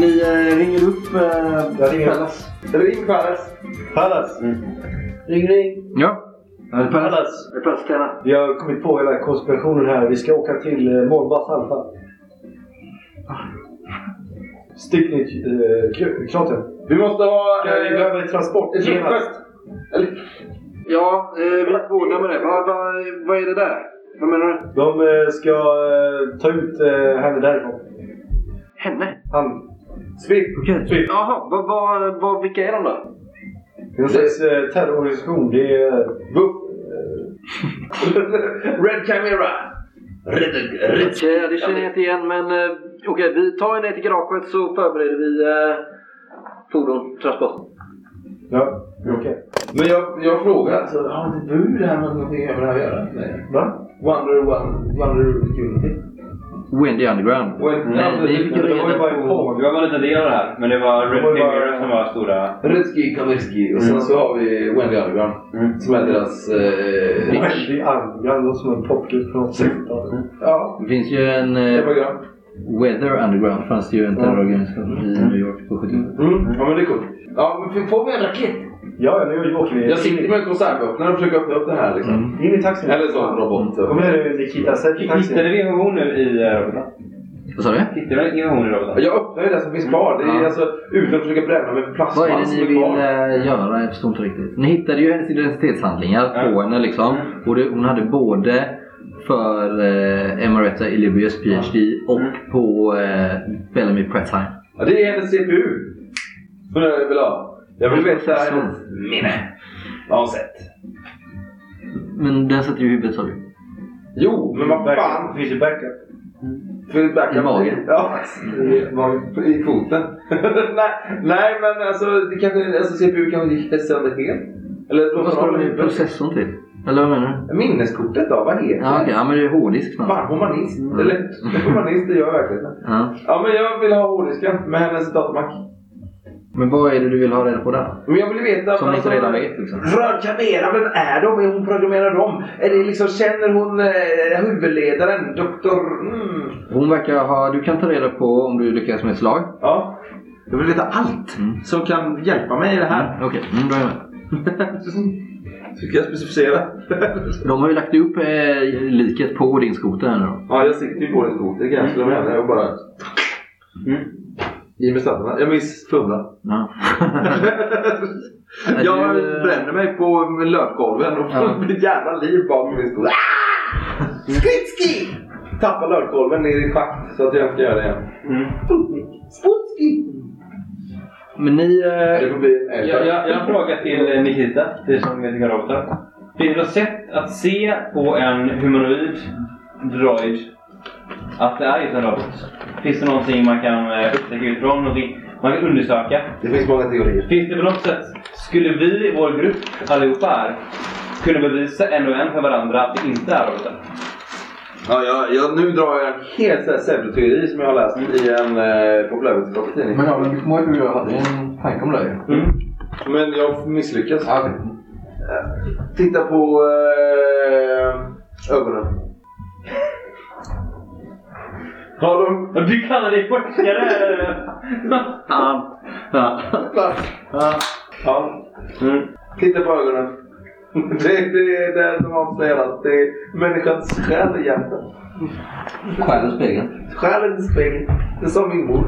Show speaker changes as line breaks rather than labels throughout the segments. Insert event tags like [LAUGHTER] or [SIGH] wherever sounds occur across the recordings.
Ni eh, ringer upp eh,
Jag ringer.
Pallas.
Ring Palace. Palace. Ring ring.
Ja.
Pallas.
Det är Pallas Stena.
Vi har kommit på hela konspirationen här. Vi ska åka till eh, Mombas Alfa. eh, Stickning-kraten.
Vi måste ha...
vi
Eh,
behöver transport.
ett köttfest. Eller,
Ja, eh, vi tvålar med det. Vad va, vad är det där? Vad menar du?
De eh, ska eh, ta ut eh, henne därifrån.
Henne?
Han.
Swift.
Okej.
Typ.
Swift.
Jaha, vad, vad, vad, vilka är de då?
Det är någon slags eh, terrororganisation. Det är... eh,
Buff. Red Camera. Red, red.
Okej, ja, det känner jag inte igen men eh, okej, vi tar er ner till garaget så förbereder vi eh, fordon, transport.
Ja, okej. Okay.
Men jag, jag frågar alltså, har inte du det här med någonting med det här att göra? Nej.
Va?
Wonder One, Wonder Unity.
Windy Underground. Nej, vi fick ju
Det var ju bara en
reda
podd.
Vi var väl inte en del av det här, men det var Red
Det var ju
Camera
bara-
som var stora...
Rutski Kamirski och sen så har vi Wendy Underground
Mm.
som är deras eh, rick.
Väldigt arg. Jag låter som en popgrupp från 60-talet.
Ja,
Det finns ju en...
det
eh,
var grann.
Weather Underground fanns det ju en terrororganisation i New York på 70-talet.
Mm. Ja men det är coolt. Ja men f- får vi en raket?
Ja, ja, nu åker vi.
Jag sitter med en konservöppnare och försöker öppna upp det här liksom.
Mm.
In i taxin.
Eller så en robot.
Kommer du Nikita? Sätt i
Hittade
taxin.
vi invasion nu i eh, roboten?
Vad sa du?
Hittade vi invasion i roboten?
Jag öppnar ju det som finns kvar. Det är
Ja.
alltså utan att försöka bränna med
Vad är
plastband
det
som
ni
är
vill
kvar.
eh, göra? Jag förstår inte riktigt. Ni hittade ju hennes identitetshandlingar
Ja.
på henne liksom.
Mm.
Och det, hon hade både för eh, Emeretta Illibius PhD
Mm.
och på eh, Bellamy Pressheim.
Ja, det är hennes CPU. Hon är väl av. Jag vill veta hennes minne. Vad har hon sett?
Men den sätter ju i huvudet sa du.
Jo, men vad fan.
Det finns ju backup.
För backup.
I magen.
Ja, i foten. [LAUGHS] nej, nej, men alltså, det kanske, alltså CPU kanske gick sönder helt. Eller
Vad
låter
ska
honom
de
i
med
huvudet.
processorn till? Eller vad menar du?
Minneskortet då? Vad heter
Ja,
det?
okej. ja men det är hårddisk snart.
Fan, humanist.
Mm.
Eller [LAUGHS] humanist, det gör jag verkligen.
Ja.
Ja, men jag vill ha hårddisken med hennes datamack.
Men vad är det du vill ha reda på där?
Men jag vill veta...
Som ni inte redan vet liksom.
Röd kamera, vem är de? Är hon programmerad om? Är det liksom, känner hon eh, huvudledaren? Doktor... Mm.
Hon verkar ha... Du kan ta reda på om du lyckas med ett slag.
Ja. Jag vill veta allt
Mm.
som kan hjälpa mig i det här.
Okej, mm, då är jag med. Mm.
Så ska jag specificera. [LAUGHS]
De har ju lagt upp eh, liket på din skoter här nu då.
ja, jag sitter ju på en skoter. Jag
Mm.
slår med henne och bara... I med slantarna. Jag minns fumla.
Ja.
jag
du, eh,
bränner mig på lötkolven och [LAUGHS]
Ja.
får ett jävla liv bakom min Ah! skoter. Skritski! Tappar lötkolven ner i ett schakt så att jag inte ska göra det igen. Sputski!
Men ni...
Det
Eh,
får bli en älg.
Jag, jag, jag har en fråga till eh, Nikita, du som vet vilka robotar. Finns det något sätt att se på en humanoid droid att det är just en robot? Finns det någonting man kan eh, upptäcka utifrån? Någonting man kan undersöka?
Det finns många teorier.
Finns det på något sätt, skulle vi i vår grupp allihopa här kunna bevisa en och en för varandra att det inte är robotar?
Ja, jag, jag, nu drar jag en helt så här pseudoteori som jag har läst i en eh, populärvetenskaplig tidning.
Men ja, men du kommer ihåg hur jag hade en tanke om det här
Mm.
Men jag misslyckas.
Ja, okej.
Titta på eh, ögonen. Har de...
Men Du kallar dig forskare!
ja. Ja.
Ja. Titta på ögonen. [LAUGHS] Det, det är det de avslöjar allt. Det är människans själ i hjärtat.
Skär ur spegeln.
Själen i spegeln. Det sa min mor.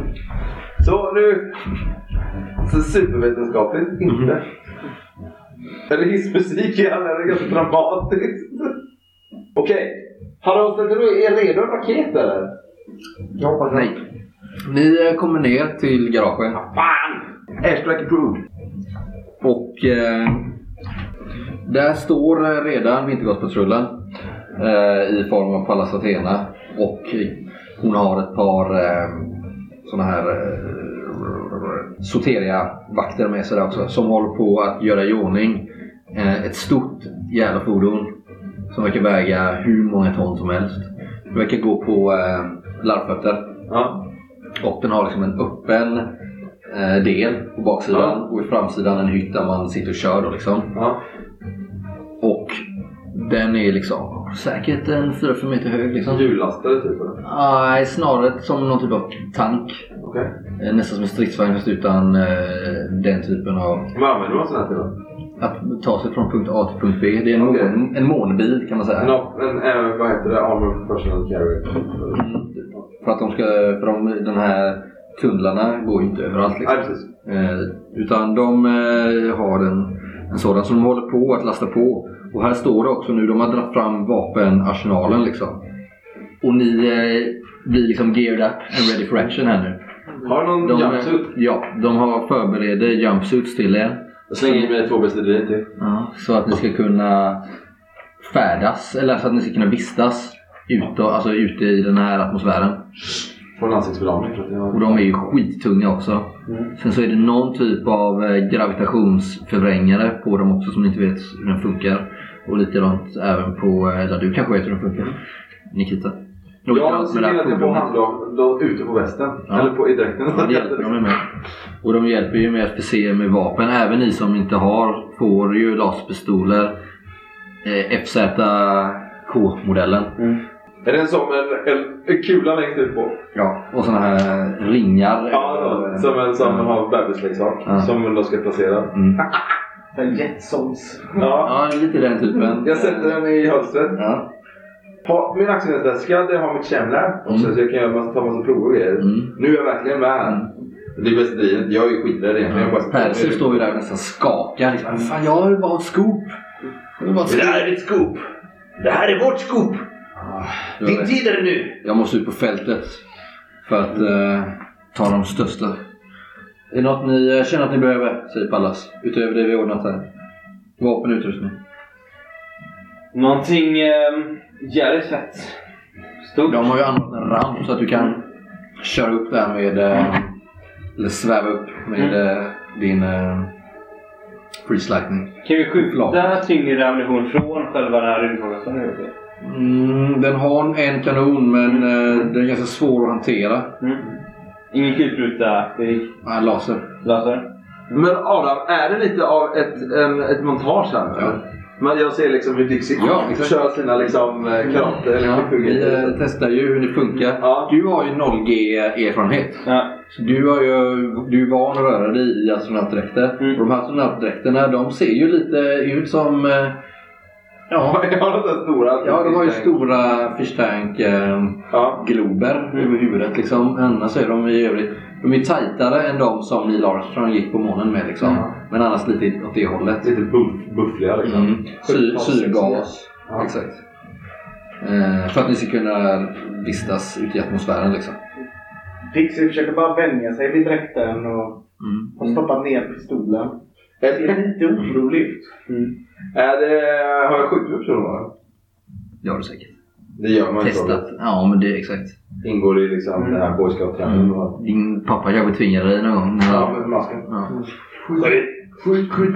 Så nu... Så supervetenskapligt. Inte. Eller hissmusik i alla, det är ganska dramatiskt. [LAUGHS] Okej. Har de du är redo en raket eller?
Jag hoppas att...
Nej. Ni eh, kommer ner till garagen
Airstrike approved.
och eh, där står eh, redan Vintergatpatrullen eh, i form av Pallas Athena och eh, hon har ett par eh, såna här eh, Soteria-vakter med sig där också som håller på att göra i ordning eh, ett stort jävla fordon som verkar väga hur många ton som helst. Det verkar gå på eh, larvfötter.
Ja.
Och den har liksom en öppen eh, del på baksidan och i framsidan en hytt där man sitter och kör. Då, liksom.
Ja.
Och Den är liksom säkert en 4-5 meter hög. Liksom.
Hjullastare typ? eller?
Nej, snarare som någon typ av tank.
Okej.
Eh, Nästan som en stridsvagn fast utan eh, den typen av...
Vad använder man sån här till då?
Att ta sig från punkt A till punkt B. Det är en,
Okej.
mån, en månbil kan man säga.
En, av- en, eh, vad heter det? Armor personal carrier?
Mm. För att de ska... För de, den här tunnlarna går ju inte överallt. Liksom.
Nej, precis.
Eh, utan de eh, har en, en sådan som de håller på att lasta på. Och här står det också nu, de har dragit fram vapenarsenalen liksom. Och ni eh, blir liksom geared up and ready for action här nu.
Har du någon
De, eh,
jumpsuit?
ja, de har förbereder jumpsuits till er.
Jag slänger in mina tvåbensdriverier till.
Så att ni ska kunna färdas, eller så att ni ska kunna vistas ute, alltså ute i den här atmosfären.
Från ansiktsförlamning. tror jag.
Och de är ju skittunga också.
Mm.
Sen så är det någon typ av eh, gravitationsförvrängare på dem också som ni inte vet hur den funkar. Och likadant även på, eh, eller du kanske vet hur den
Mm.
funkar? Nikita? Och
Jag
likadant
ser
med det
till
här
att jag får
fordonet.
handlag då ute på västen.
Ja.
Eller på, i dräkten.
Ja, det hjälper de ju med. Och de hjälper ju med att förse er med vapen. Även ni som inte har får ju laserpistoler. Eh, FZK-modellen.
[LAUGHS] Är det en sån en, en, en kula längst ut på?
Ja. Och såna här ringar.
Ja, så, som en som har bebisleksak.
Ja.
Som man då ska placera.
Mm.
En Jetsons.
Ja.
Ja, lite den typen.
Jag sätter den i hölstret.
Ja.
Ha, min axelväska, det har mitt känner. Och sen
Mm.
så jag kan jag massa, ta massa prover och grejer.
Mm.
Nu är jag verkligen med.
Mm.
Det är bäst drivet. Jag är ju skiträdd egentligen. Jag bara-
Perser står ju där och nästan skakar. Liksom. Fan, jag har ju bara ett scoop. Jag har ju bara ett
Det
scoop.
här är ditt scoop! Det här är vårt scoop!
Du har
Din
rätt.
tid är det nu!
Jag måste ut på fältet för att eh, ta de största. Är det något ni eh, känner att ni behöver? Säger Pallas. Utöver det vi ordnat här. Vapen och utrustning.
Någonting ehm, jävligt fett. Stort.
De har ju anordnat en ramp så att du kan köra upp där med... Eh, eller sväva upp med
Mm.
eh, din eh, freeslightning.
Kan vi skjuta
Flak.
tyngre ammunition från själva den här rymdfarkosten? nu, okej?
Mm, den har en kanon men eh, den är ganska svår att hantera.
Mm. Ingen kulspruta, Erik.
Ja, en laser.
Laser.
Men Adam, är det lite av ett, en, ett montage här nu?
Ja.
Men jag ser liksom hur Dixie
Ja, exakt.
kör sina liksom eh, karate eller
Ja, vi
kung-fu-grejer.
eh, testar ju hur det funkar.
Ja.
Du har ju 0G erfarenhet.
Ja.
Så du, har ju, du är van att röra dig i astronautdräkter.
Mm.
Och de här astronautdräkterna de ser ju lite ut som... eh, Ja,
[LAUGHS] Ja, de där stora.
ja de har ju stora fishtank-glober
Ja.
Mm.
över huvudet. Liksom. Annars är de i övrigt... De är tajtare än de som Neil Armstrong gick på månen med. Liksom.
Mm.
Men annars lite åt det hållet.
Lite buff, buffliga liksom.
Mm. Syr, syrgas.
Ja.
Exakt. Eh, för att ni ska kunna vistas ute i atmosfären liksom.
Pixie försöker bara vänja sig vid dräkten och
Mm.
har stoppat ner pistolen.
Är,
Det är
det-
lite oroligt.
Mm. är det, har jag skjutit med personer bara?
Det har du säkert.
Det gör man ju så.
Testat. Ja, men det är exakt.
Ingår i liksom den här boy scout
Mm.
och...
Din pappa kanske tvingade dig någon gång.
Ja, med masken.
Ja.
Skjut, skjut, skjut.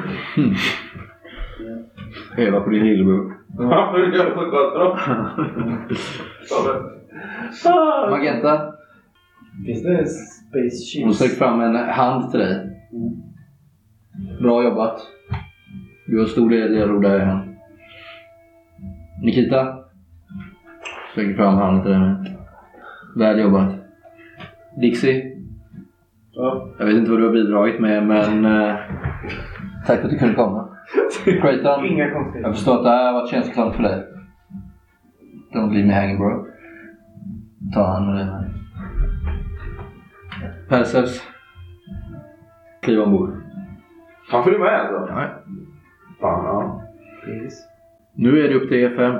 Öva på din lillebror.
Ja, men det gör så
[LAUGHS]
gott då. Ja, men- Ah.
Magenta,
Finns det Space
hon
Ships?
sträcker fram en hand till dig. Bra jobbat. Du har en stor del i att ro där hem. Nikita. Sträcker fram handen till dig med. Väl jobbat. Dixie.
Ja.
Jag vet inte vad du har bidragit med men eh, tack för att du kunde komma. [LAUGHS] Creighton,
Inga
jag
konstigheter.
förstår att det här har varit känslosamt för dig. Don't leave me hanging bro. Ta hand om dig. Perseus. Kliv ombord.
Han följer med alltså?
Ja,
Fan, ja.
Nu är det upp till er fem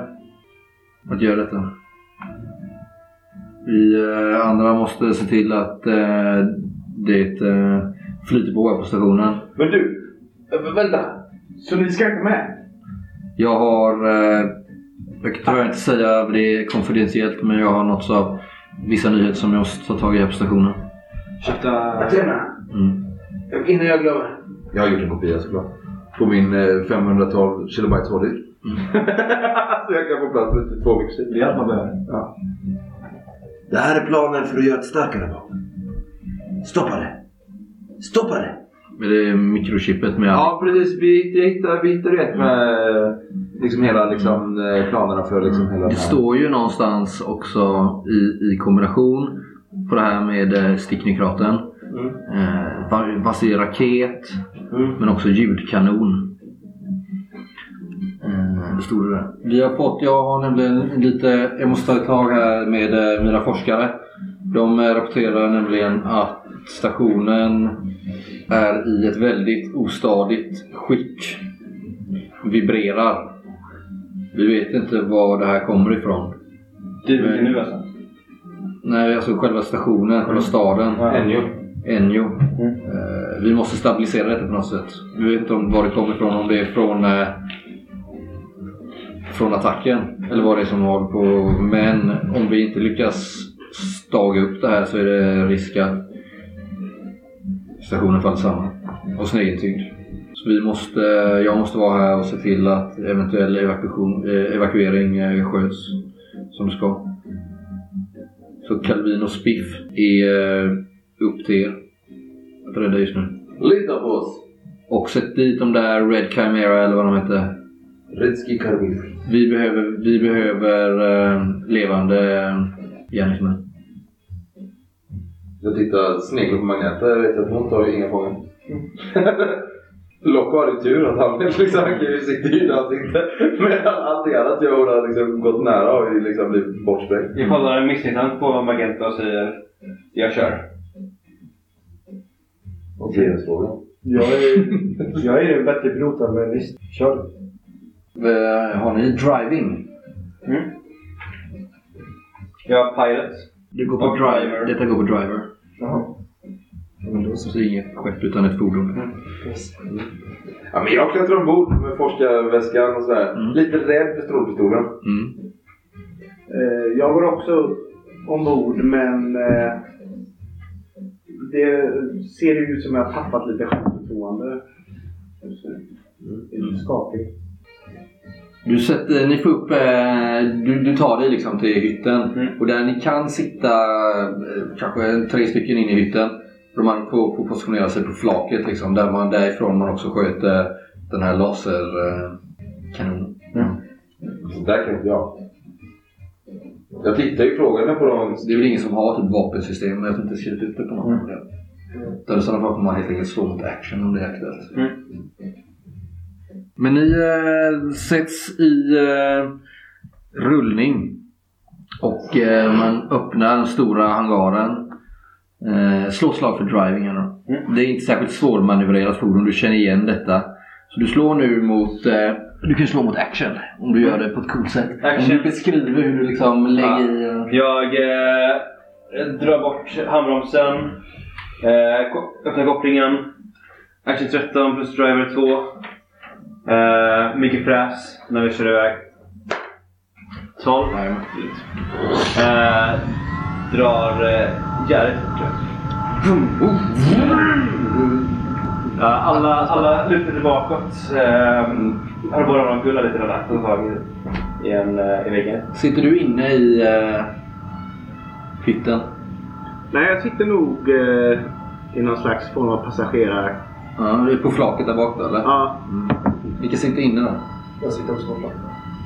att göra detta. Vi eh, andra måste se till att eh, det eh, flyter på på stationen.
Men du,
eh,
äh, vänta.
Så ni ska inte med?
Jag har... Eh, jag kan tyvärr inte säga, för det är konfidentiellt, men jag har nåtts av vissa nyheter som jag måste ta tag i här på stationen.
Ursäkta.
Athena,
Mm.
innan jag glömmer. Jag har gjort en kopia såklart. På min eh, 512 kilobytes hårddisk.
[LAUGHS]
Så jag kan få plats med två byxor.
Det är allt man behöver.
Det här är planen för att göra ett starkare vapen. Stoppa det! Stoppa det!
Är det mikrochippet med all-
Ja, precis. Vi vi hittar, vi hittar rätt med eh, liksom hela liksom, eh, planerna för liksom hela
Det
den här-
står ju någonstans också i, i kombination på det här med eh, sticknykraten.
Mm.
Eh, va- fast det är raket men också ljudkanon. Eh, det stod det där. Vi har fått, jag har nämligen lite, jag måste ta ett tag här med eh, mina forskare. De eh, rapporterar nämligen att stationen är i ett väldigt ostadigt skick. Vibrerar. Vi vet inte var det här kommer ifrån.
Du är nu alltså?
Nej, alltså själva stationen, själva staden.
Ännu.
Enjo. Eh, vi måste stabilisera detta på något sätt. Vi vet inte om var det kommer ifrån. Om det är från, eh, från attacken. Eller vad det är som håller på. Men om vi inte lyckas staga upp det här så är det risk att stationen faller samman. Och sin egen tyngd. Så vi måste, jag måste vara här och se till att eventuell evakuation, eh, evakuering eh, sköts som det ska. Så Calvin och Spiff är eh, upp till er att rädda just nu.
Lita på oss.
Och sätt dit de där Red Chimera eller vad de hette.
Redski Karmil.
Vi behöver, vi behöver eh, levande eh, gärningsmän.
Jag tittar sneglar på Magneta. Jag vet att hon tar ju inga fångar. Locke har ju tur att han liksom har sitt dyra ansikte. Medan allting annat jag har liksom gått nära har ju liksom blivit bortsprängt.
Jag kollar misstänksamt på Magenta och säger jag kör.
Och frihetsfrågan.
Jag är, jag är en bättre pilot än men visst, kör.
Eh, har ni driving?
Mm. Jag är pilot.
Det går på
Och driver.
driver. Detta går på driver.
Jaha. Ja, men då så.
Så det är inget skepp utan ett fordon.
Ja, men jag klättrar ombord med forskarväskan och sådär.
Mm.
Lite rädd för strålpistolen.
Mm.
Eh, Jag går också ombord men eh, det ser ju ut som jag har tappat lite självförtroende. Just nu. Det är lite skakigt.
Mm. Du sätter, ni får upp, eh, du, du tar dig liksom till hytten
Mm.
och där ni kan sitta eh, kanske tre stycken in i hytten. De andra får, får positionera sig på flaket liksom, där man, därifrån man också sköter den här eh, laserkanonen.
Mm.
Så där kan inte jag. Jag tittar ju frågande på dem.
Det är väl ingen som har typ vapensystem, men jag har inte skrivit ut det på någon. Mm. Utan i sådana fall får man helt enkelt slå mot action om det är aktuellt.
Mm.
Men ni eh, sätts i eh, rullning. Och eh, man öppnar den stora hangaren. Eh, slå slag för drivingen då.
Mm.
Det är inte särskilt svårmanövrerat fordon, du känner igen detta. Så du slår nu mot... Eh, du kan slå mot action om du gör det på ett coolt sätt. Om
Mm. Action.
du beskriver hur du liksom lägger i... eh,
Jag eh, drar bort handbromsen. Eh, ko- öppnar kopplingen. Action 13 plus driver 2. Eh, mycket fräs när vi kör iväg. 12. Eh, drar eh, jävligt fort. Ja, alla, alla lutade bakåt. Eh, har bara någon gulla lite relax och tag i- i, en, eh, i väggen.
Sitter du inne i eh, hytten?
Nej, jag sitter nog eh, i någon slags form av passagerare.
Ja, du är på flaket där bak då eller? Mm.
Ja,
Vilka sitter inne där?
jag sitter också på plattan.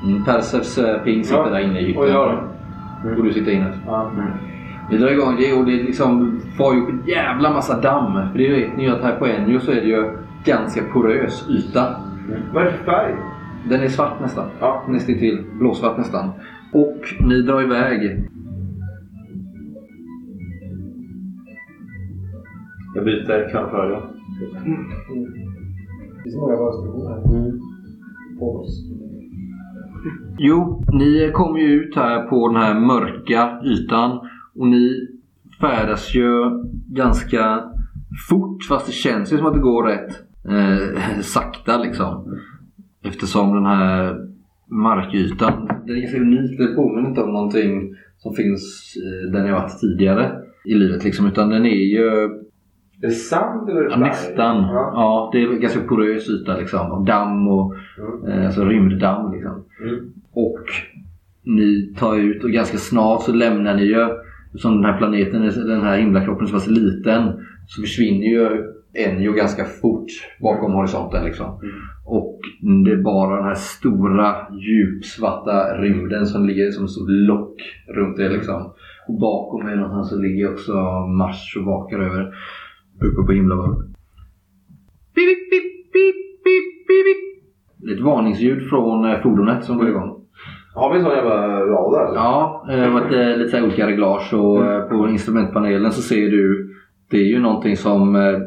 Mm, Persefs eh, ping sitter
Ja.
där inne i hytten.
Och jag då? Mm.
Och du sitter inne.
Ja.
Vi drar igång det och det är liksom far ju upp en jävla massa damm. För det vet ni ju att här på Enjo så är det ju ganska porös yta.
Vad är det för färg?
Den är svart nästan.
Ja.
Nästintill blåsvart nästan. Och ni drar iväg.
Jag byter knapphörlurar.
Det finns många varustationer här.
Mm.
På oss.
Jo, ni kommer ju ut här på den här mörka ytan och ni färdas ju ganska fort fast det känns ju som att det går rätt eh, sakta liksom. Eftersom den här markytan, den är ganska unik. Den påminner inte om någonting som finns eh, där ni har varit tidigare i livet liksom. Utan den är ju
Är det sand eller är det
Ja,
färg?
nästan. Ja.
Ja.
det är ganska porös yta liksom. Av damm och eh, alltså rymddamm. Liksom.
Mm.
Och ni tar ut och ganska snart så lämnar ni ju, som den här planeten, är- den här himlakroppen som var så liten, så försvinner ju Enjo ganska fort bakom horisonten. Liksom. Och det är bara den här stora djupsvarta rymden som ligger som ett stort lock runt det. Liksom. Och bakom mig någonstans så ligger också Mars och vakar över uppe på himlen. Pip, pip, pip, pip, pip, pip, pip. Det är ett varningsljud från eh, fordonet som går igång.
Har vi en sån jävla radar? eller?
Ja, eh, och ett, eh, lite så här olika reglage och eh, på instrumentpanelen så ser du det är ju någonting som eh,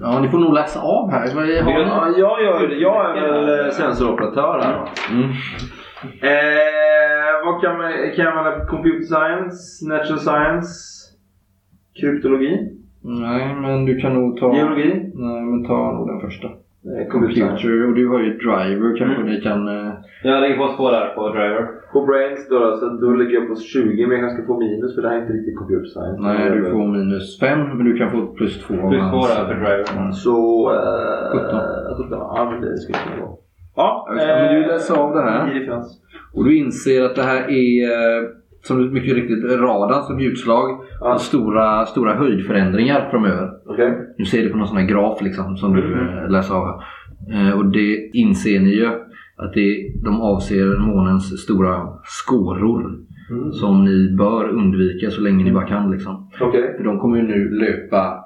Ja, ni får nog läsa av här. Vad är- har ni?
Ja, jag gör det. Jag är väl eh, sensoroperatör här. va?
Mm.
Eh, vad kan man, kan jag använda? Computer science, natural science, kryptologi,
Nej, men du kan nog ta...
geologi.
Nej, men ta nog den första.
Eh, computer science.
Computer. Och du har ju driver kanske
Mm.
ni kan... eh,
Jag lägger på spår där på driver.
På brains då, då, så då ligger jag på 20 men jag kanske ska få minus för det här är inte riktigt computer science.
Nej, du får minus 5 men du kan få plus 2 om
Plus
hans-
två där för driver.
Mm.
Så... Eh,
Sjutton.
17. Ja, men det skulle kunna gå. Ja,
Ja, men du läser av det här.
i differens.
Och du inser att det här är eh, som du mycket riktigt radarn som ljudslag
Ja.
och stora, stora höjdförändringar framöver.
Okej.
Du ser det på någon sån här graf liksom, som du eh, läser av. här. Eh, Och det inser ni ju att det, de avser månens stora skåror
Mm.
som ni bör undvika så länge ni bara kan. Liksom.
Okej.
För de kommer ju nu löpa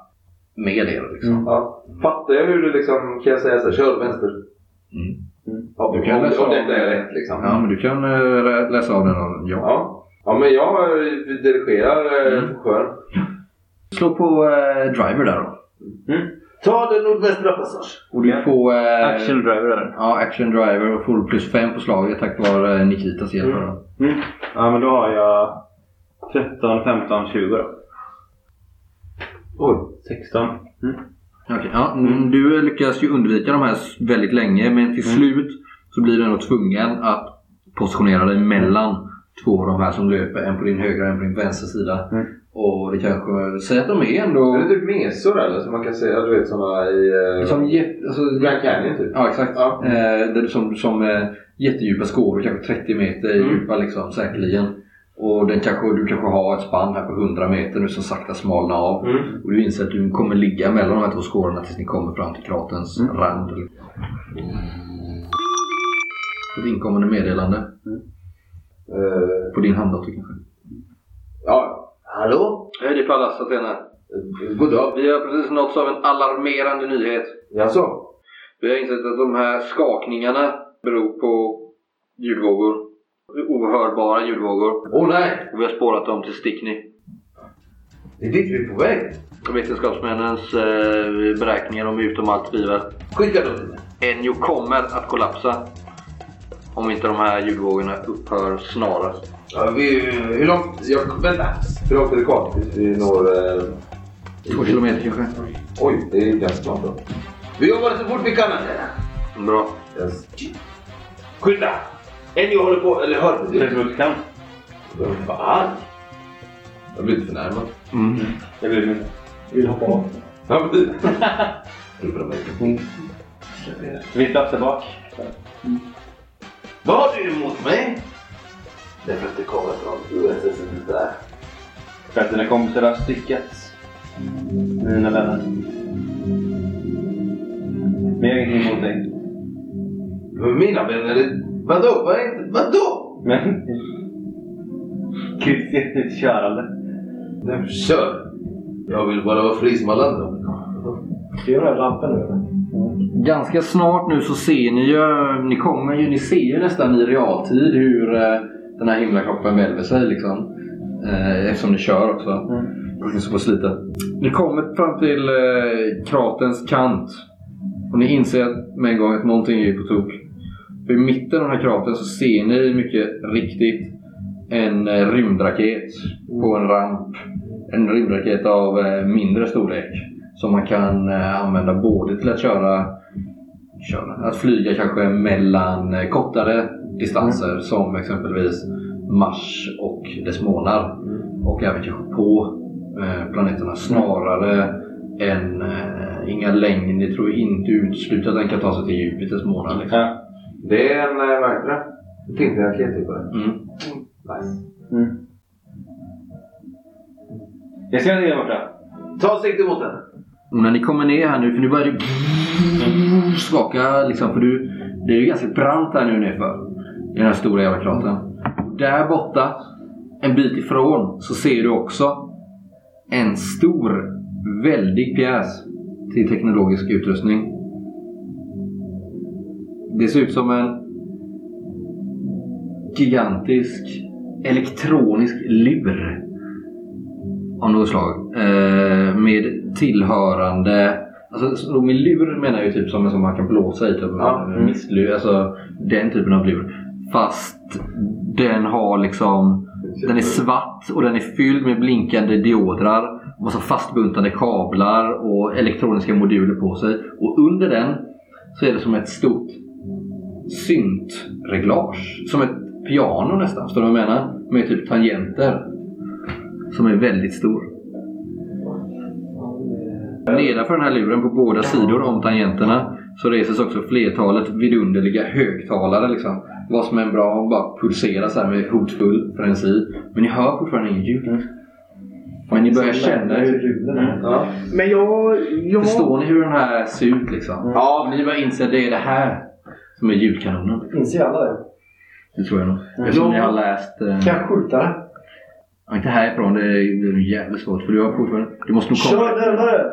med er. Liksom.
Ja. Fattar jag hur du liksom kan jag säga så här, kör vänster.
Mm.
Ja,
Du kan
om,
läsa
om
av
detta är
det.
rätt liksom.
Mm. Ja, men du kan eh, lä- läsa av den av ja.
Ja. Ja, men jag eh, dirigerar eh,
Mm.
sjön.
Slå på eh, driver där då.
Ta den nordvästra passage.
Och du får... eh,
Action driver där.
Ja, action driver och får plus 5 på slaget tack vare eh, Nikitas hjälp.
Mm.
då.
Ja, men då har jag 13, 15, 20 då.
Oj.
16.
Okej, ja, mm. Du lyckas ju undvika de här s- väldigt länge men till slut så blir du ändå tvungen att positionera dig mellan två av de här som löper. En på din högra och en på din vänstra sida.
Mm.
Och det kanske... Säg att de är ändå...
Är det typ mesor eller? Som man kan säga, du vet såna i... Eh,
Som jätte... Alltså,
Grand Canyon typ.
Ja, exakt.
Ja.
Eh, det är som som eh, jättedjupa skåror, kanske 30 meter
Mm.
djupa liksom, säkerligen. Och den kanske, du kanske har ett spann här på 100 meter nu som sakta smalnar av.
Mm.
Och du inser att du kommer ligga mellan de här två skårorna tills ni kommer fram till kratens rand. Ett inkommande meddelande
Eh,
på din handdator kanske?
ja. Hallå?
Hej, det är Pallas Athena.
God dag.
Vi har precis nåtts av en alarmerande nyhet.
Jaså?
Vi har insett att de här skakningarna beror på ljudvågor. Ohörbara ljudvågor.
Åh oh, nej!
Och vi har spårat dem till Stickney.
Det är dit vi är på väg.
Vetenskapsmännens eh, beräkningar om utom allt tvivel.
Skicka dem.
Enjo kommer att kollapsa. Om inte de här ljudvågorna upphör snarast.
Ja, vi, hur långt... Jag, vänta. Hur långt är det kvar tills vi når... Eh,
Två kilometer kanske?
oj, det är ganska snart då.
Vi jobbar så fort vi kan. Athena.
Bra.
Yes.
Skynda! En jag håller på, eller hör precis.
Säg så mycket kan.
Fan!
Jag blir lite förnärmad.
Jag bryr mig inte.
Vill hoppa av.
Ja,
[LAUGHS]
precis.
Vi är platser bak.
Vad har du emot mig?
Därför att det kommer från USS där.
För att dina kompisar har styckats. Mina vänner. Men jag har ingenting emot dig.
Men mina vänner, det- vadå? Vad är inte, vadå?
Men... Kristi är ditt körande.
Nej, kör! Jag vill bara vara fri som alla andra.
Ser du den här lampan nu eller?
Ganska snart nu så ser ni ju, ni kommer ju, ni ser ju nästan i realtid hur eh, den här himlakroppen välver sig liksom. Eh, eftersom ni kör också. Mm. Så får slita. Ni kommer fram till eh, kratens kant. Och ni inser att- med en gång att någonting är på tok. För i mitten av den här kratern så ser ni mycket riktigt en eh, rymdraket på en ramp. En rymdraket av eh, mindre storlek. Som man kan eh, använda både till att köra köra. Att flyga kanske mellan eh, kortare distanser som exempelvis Mars och dess månar. Och även kanske på eh, planeterna snarare än eh, inga längd. Det tror jag inte utesluter att den kan ta sig till Jupiters månar. Liksom.
Ja.
Det är en, eh, vad heter det? En Tintin-raket typ. eller?
Mm.
Nice.
Mm. Jag ser dig där borta.
Ta sikte mot den.
Och när ni kommer ner här nu, för nu börjar det [LAUGHS] skaka liksom. För du, det är ju ganska brant här nu nerför. I den här stora jävla kratern. Där borta, en bit ifrån, så ser du också en stor, väldig pjäs till teknologisk utrustning. Det ser ut som en gigantisk elektronisk lur av något slag. Eh, med tillhörande... Alltså, så med lur menar jag ju typ som en som man kan blåsa i. Typ,
Ja,
en misslur, alltså den typen av lur. Fast den har liksom... Den är svart och den är fylld med blinkande diodrar. Massa fastbuntande kablar och elektroniska moduler på sig. Och under den så är det som ett stort syntreglage. Som ett piano nästan, förstår du vad jag menar? Med typ tangenter. Som är väldigt stor. Nedanför den här luren på båda sidor om tangenterna så reses också flertalet vidunderliga högtalare. Liksom. Vad som är bra bara pulserar så här med hotfull frenesi. Men ni hör fortfarande inget ljud. Men ni börjar känna hur...
Mm.
Ja.
Men jag... jag...
Förstår ni hur den här ser ut liksom?
Ja,
Ni börjar inse att det är det här som är ljudkanonen.
Inser alla det?
Det tror jag nog. Eftersom
Ja.
ni har läst... Eh,
Kan jag skjuta den?
ja, inte härifrån, det är nog jävligt svårt. För du har fortfarande... Du måste nog komma...
Kör närmare!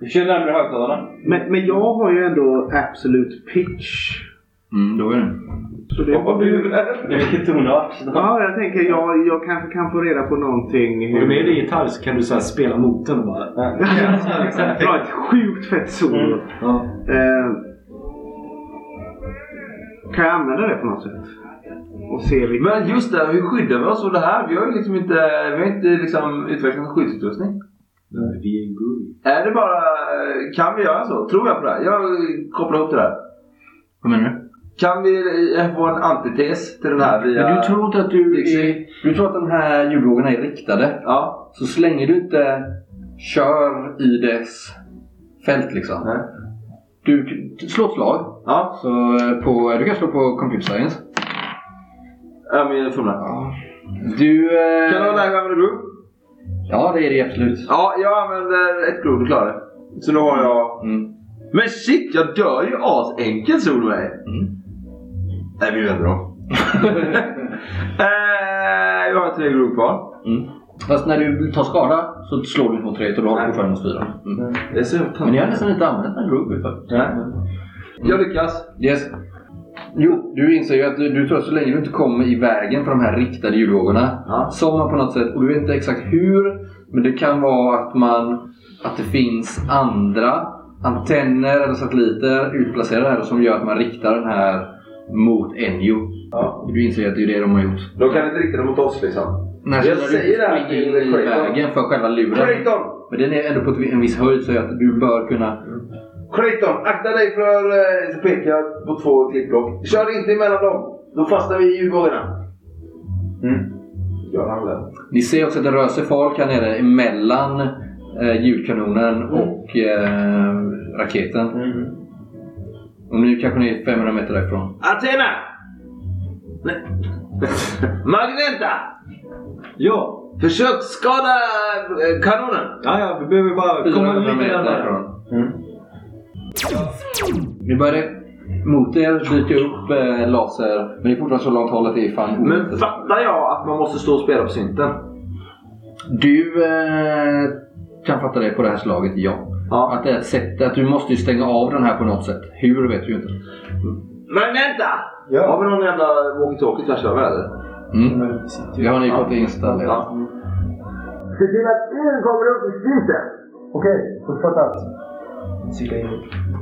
Vi kör närmare högtalarna.
Men, men jag har ju ändå absolut pitch.
Mm, då är det.
Så det...
vad blir det där?
Det är Vilken tonart.
Ja, jag tänker jag, jag kanske kan få reda på någonting.
Om du
Hur...
är
[LAUGHS]
med i gitarr så kan du så här spela mot den och bara.
Bra, ett sjukt fett
Mm.
solo. Eh, kan jag använda det på något sätt? Och se vilka...
Men just det, hur skyddar vi oss från det här? Vi har ju liksom inte, vi har inte liksom utvecklat någon skyddsutrustning.
Vi är en groovy.
Är det bara, kan vi göra så? Tror jag på det här? Jag kopplar ihop det där.
Vad menar du?
Kan vi eh, få en antites till den här via...
Men du tror inte att du
Dixie.
är, Du tror att de här ljudvågorna är riktade.
Ja.
Så så länge du inte kör i dess fält liksom.
Nej.
Du du- slå ett slag.
Ja.
Så eh, på, du kan slå på computer science.
Ja, men jag fumlar.
Du... eh,
Kan det vara läge att använda grov?
Ja, det är det absolut.
Ja, jag använder ett grov, du klarar det. Så då har jag...
Mm.
Men shit, jag dör ju asenkelt Solveig! Nej, vi vänder om. eh, jag har tre grov kvar.
Mm. Fast när du tar skada så slår du inte mot 3 utan du har
Nej.
fortfarande mot 4. Mm.
Det är så
Men jag har nästan inte använt den groove utan.
Nej. Mm. Jag lyckas.
Yes. Jo, du inser ju att du, du tror att så länge du inte kommer i vägen för de här riktade ljudvågorna
Ja.
som man på något sätt, och du vet inte exakt hur, men det kan vara att man att det finns andra antenner eller satelliter utplacerade här som gör att man riktar den här mot Enjo.
Ja.
Du inser ju att det är det de har gjort.
De kan inte rikta dem mot oss liksom.
När
Jag
så där du
säger det här
springer
till
in i
Creighton.
vägen för själva luren.
Creighton!
Men den är ändå på ett- en viss höjd så att du bör kunna...
Creighton! Akta dig för... Eh, så pekar jag på två klippblock. Kör inte emellan dem! Då fastnar vi i ljudvågorna.
Mm.
Gör han det?
Ni ser också att det rör sig folk här nere emellan eh, ljudkanonen och eh, raketen.
Mm.
Och nu kanske ni är 500 meter därifrån.
Athena! Nej. [LAUGHS] Magneta!
Ja,
Försök skada eh, kanonen!
ja, ja vi behöver bara komma
400
lite
meter
närmare.
därifrån. Nu börjar det mot er dyka upp eh, laser. Men det är fortfarande så långt håll att det är fan
Men fattar jag att man måste stå och spela på synten?
Du eh, kan fatta det på det här slaget, ja.
Ja.
Att det är ett sätt, att du måste ju stänga av den här på något sätt. Hur vet du ju inte.
Magneta!
Ja.
Har vi någon jävla walkie-talkie tvärs över eller?
Mm. Det har ni fått installerat.
Ja.
Se till att en kommer upp i spisen.
Okej, uppfattat. Cykla in.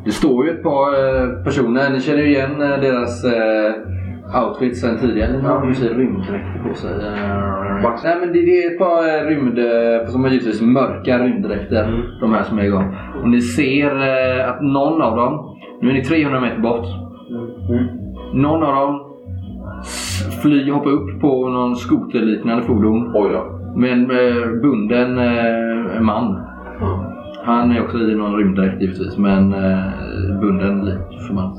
Det står ju ett par eh, personer, ni känner ju igen eh, deras eh, outfits sen tidigare. De har ju sig rymddräkter på sig. Eh,
Vax.
Nej men det, det är ett par eh, rymd, eh, som har givetvis mörka rymddräkter. De här som är igång. Och ni ser eh, att någon av dem, nu är ni 300 meter bort. Mm. Någon av dem s- flyger, hoppar upp på någon skoterliknande fordon.
Oj då.
Med en eh, bunden eh, man. Han är också i någon rymddräkt givetvis, men eh, bunden lik för man.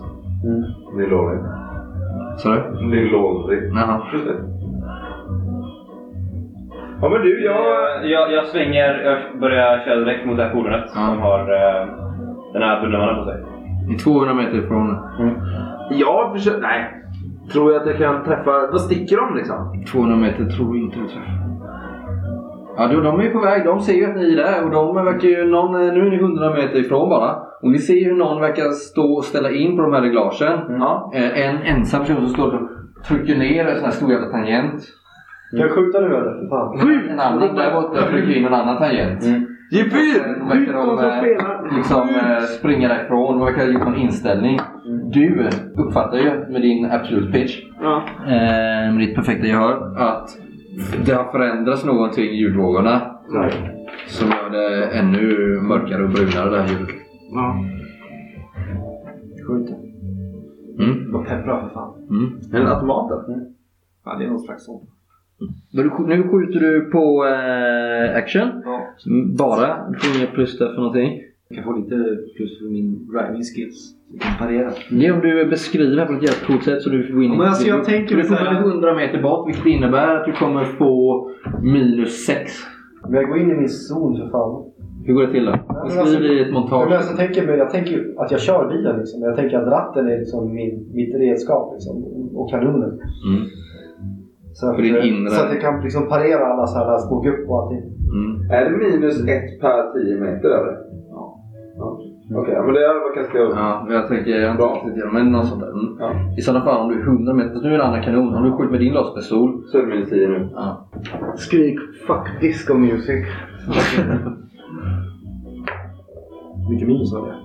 Det är lovligt.
Sa du?
Det är lovligt.
Jaha.
Ja men du, jag...
Jag, jag, jag svänger, jag börjar köra direkt mot det här fordonet
Ja.
som har eh, den här bullemannen på sig.
Ni är 200 meter från
Jag försöker... Nej. Tror jag att jag kan träffa... Vad sticker de liksom?
200 meter tror jag inte du träffar. Ja, då, de är ju på väg. De ser ju att ni är där och de verkar ju någon, nu är ni 100 meter ifrån bara. Och ni ser ju hur någon verkar stå och ställa in på de här reglagen.
Ja.
Eh, En ensam person som står och trycker ner en sån här stor jävla tangent.
Kan jag skjuta nu eller? För fan.
En annan där borta trycker in en annan tangent.
Mm.
Ge fyr!
Sen verkar de eh, liksom eh, springa därifrån. De verkar ha gjort någon inställning. Du uppfattar ju med din absolute pitch
Mm. Ja.
eh, med ditt perfekta gehör att det har förändrats någonting i ljudvågorna som gör det ännu mörkare och brunare det här ljudet.
Ja. Skjuta.
Mm.
Vad peppra för fan.
Mm.
En automat då?
Ja, det är någon slags sån.
Men du, nu skjuter du på eh, action.
Ja.
Mm, Bara. Du får inga plus där för någonting.
Jag kan få lite plus för min driving skills. Så jag kan parera.
Det är om du beskriver på ett jävligt coolt sätt så du får in...
Ja, men alltså, jag tänker
du
så
får
här-
fortfarande 100 meter bort vilket innebär att du kommer få minus 6.
Men jag går in i min zon för fan.
Hur går det till då?
men alltså-
Beskriv det i ett
Ja,
montage.
men alltså, tänker, jag- jag tänker ju att jag kör bilen liksom. Jag tänker att ratten är liksom min, mitt redskap liksom. Och kanonen.
Mm.
Så, att,
För din
eh,
inre-
så att jag kan liksom parera alla så här små gupp och allting.
Mm.
Är det minus ett per 10 meter eller? Ja. Okej, ja, men det hade varit ganska...
Ja, jag tänker... Jag har
Bra.
inte riktigt igenom, men något sånt där. Mm.
Ja.
I sådana fall om du är 100 meter... Nu är det andra kanon. Om du skjuter med din glaspistol.
Så är det minus 10 nu.
Ja.
Skrik fuck disco music. Mycket minus har jag.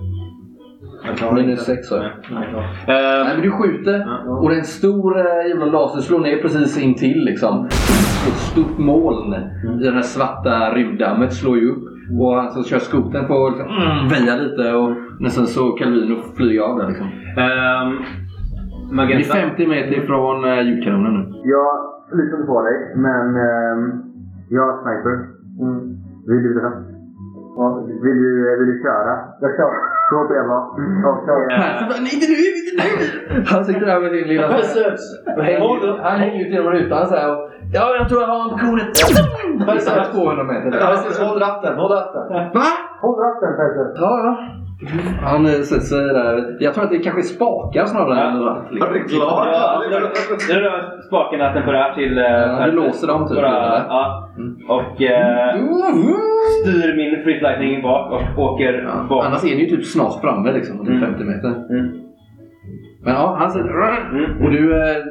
Jag klarar
Minus
inte.
6 så.
Nej.
Nej, klart.
Eh,
Nej, men du skjuter
Ja.
och det är en stor eh, jävla laser slår ner precis intill liksom. Ett stort moln. i Det där svarta rymddammet slår ju upp. Och han som kör skotern får liksom, mm, väja lite och nästan så Calvino flyger av där liksom.
Ehm,
Det är
Magenta.
50 meter ifrån eh, ljudkanonen nu.
Jag litar inte på dig, men ehm, jag har sniper. Mm. Vill du det? Ja. Vill du, eh, vill du köra? Jag kör. Så åt det var. Ja, kör.
Persson bara, nej inte nu, inte nu! Han sitter där med sin lilla... Han hänger ut- Han hänger ut genom rutan såhär och... Ja, jag tror jag har honom på kornet. Det är 200 meter.
Precis, håll ratten, håll ratten.
Va?
Håll ratten Petter.
Ja, ja. Han eh, sätter sig där. Jag tror att det kanske spakar snarare än ratt.
Ja, det är klart!
Ja, nu- nu rör spaken att temporär till... eh,
Ja, du
fönstret.
låser dem typ,
Bara-
eller? Mm.
Ja. Och eh, styr min free lightning bak och åker
Ja.
bak.
Annars är ni ju typ snart framme liksom. Det är
Mm.
50 meter.
Mm.
Men ja, han sätter...
Mm.
Och du eh,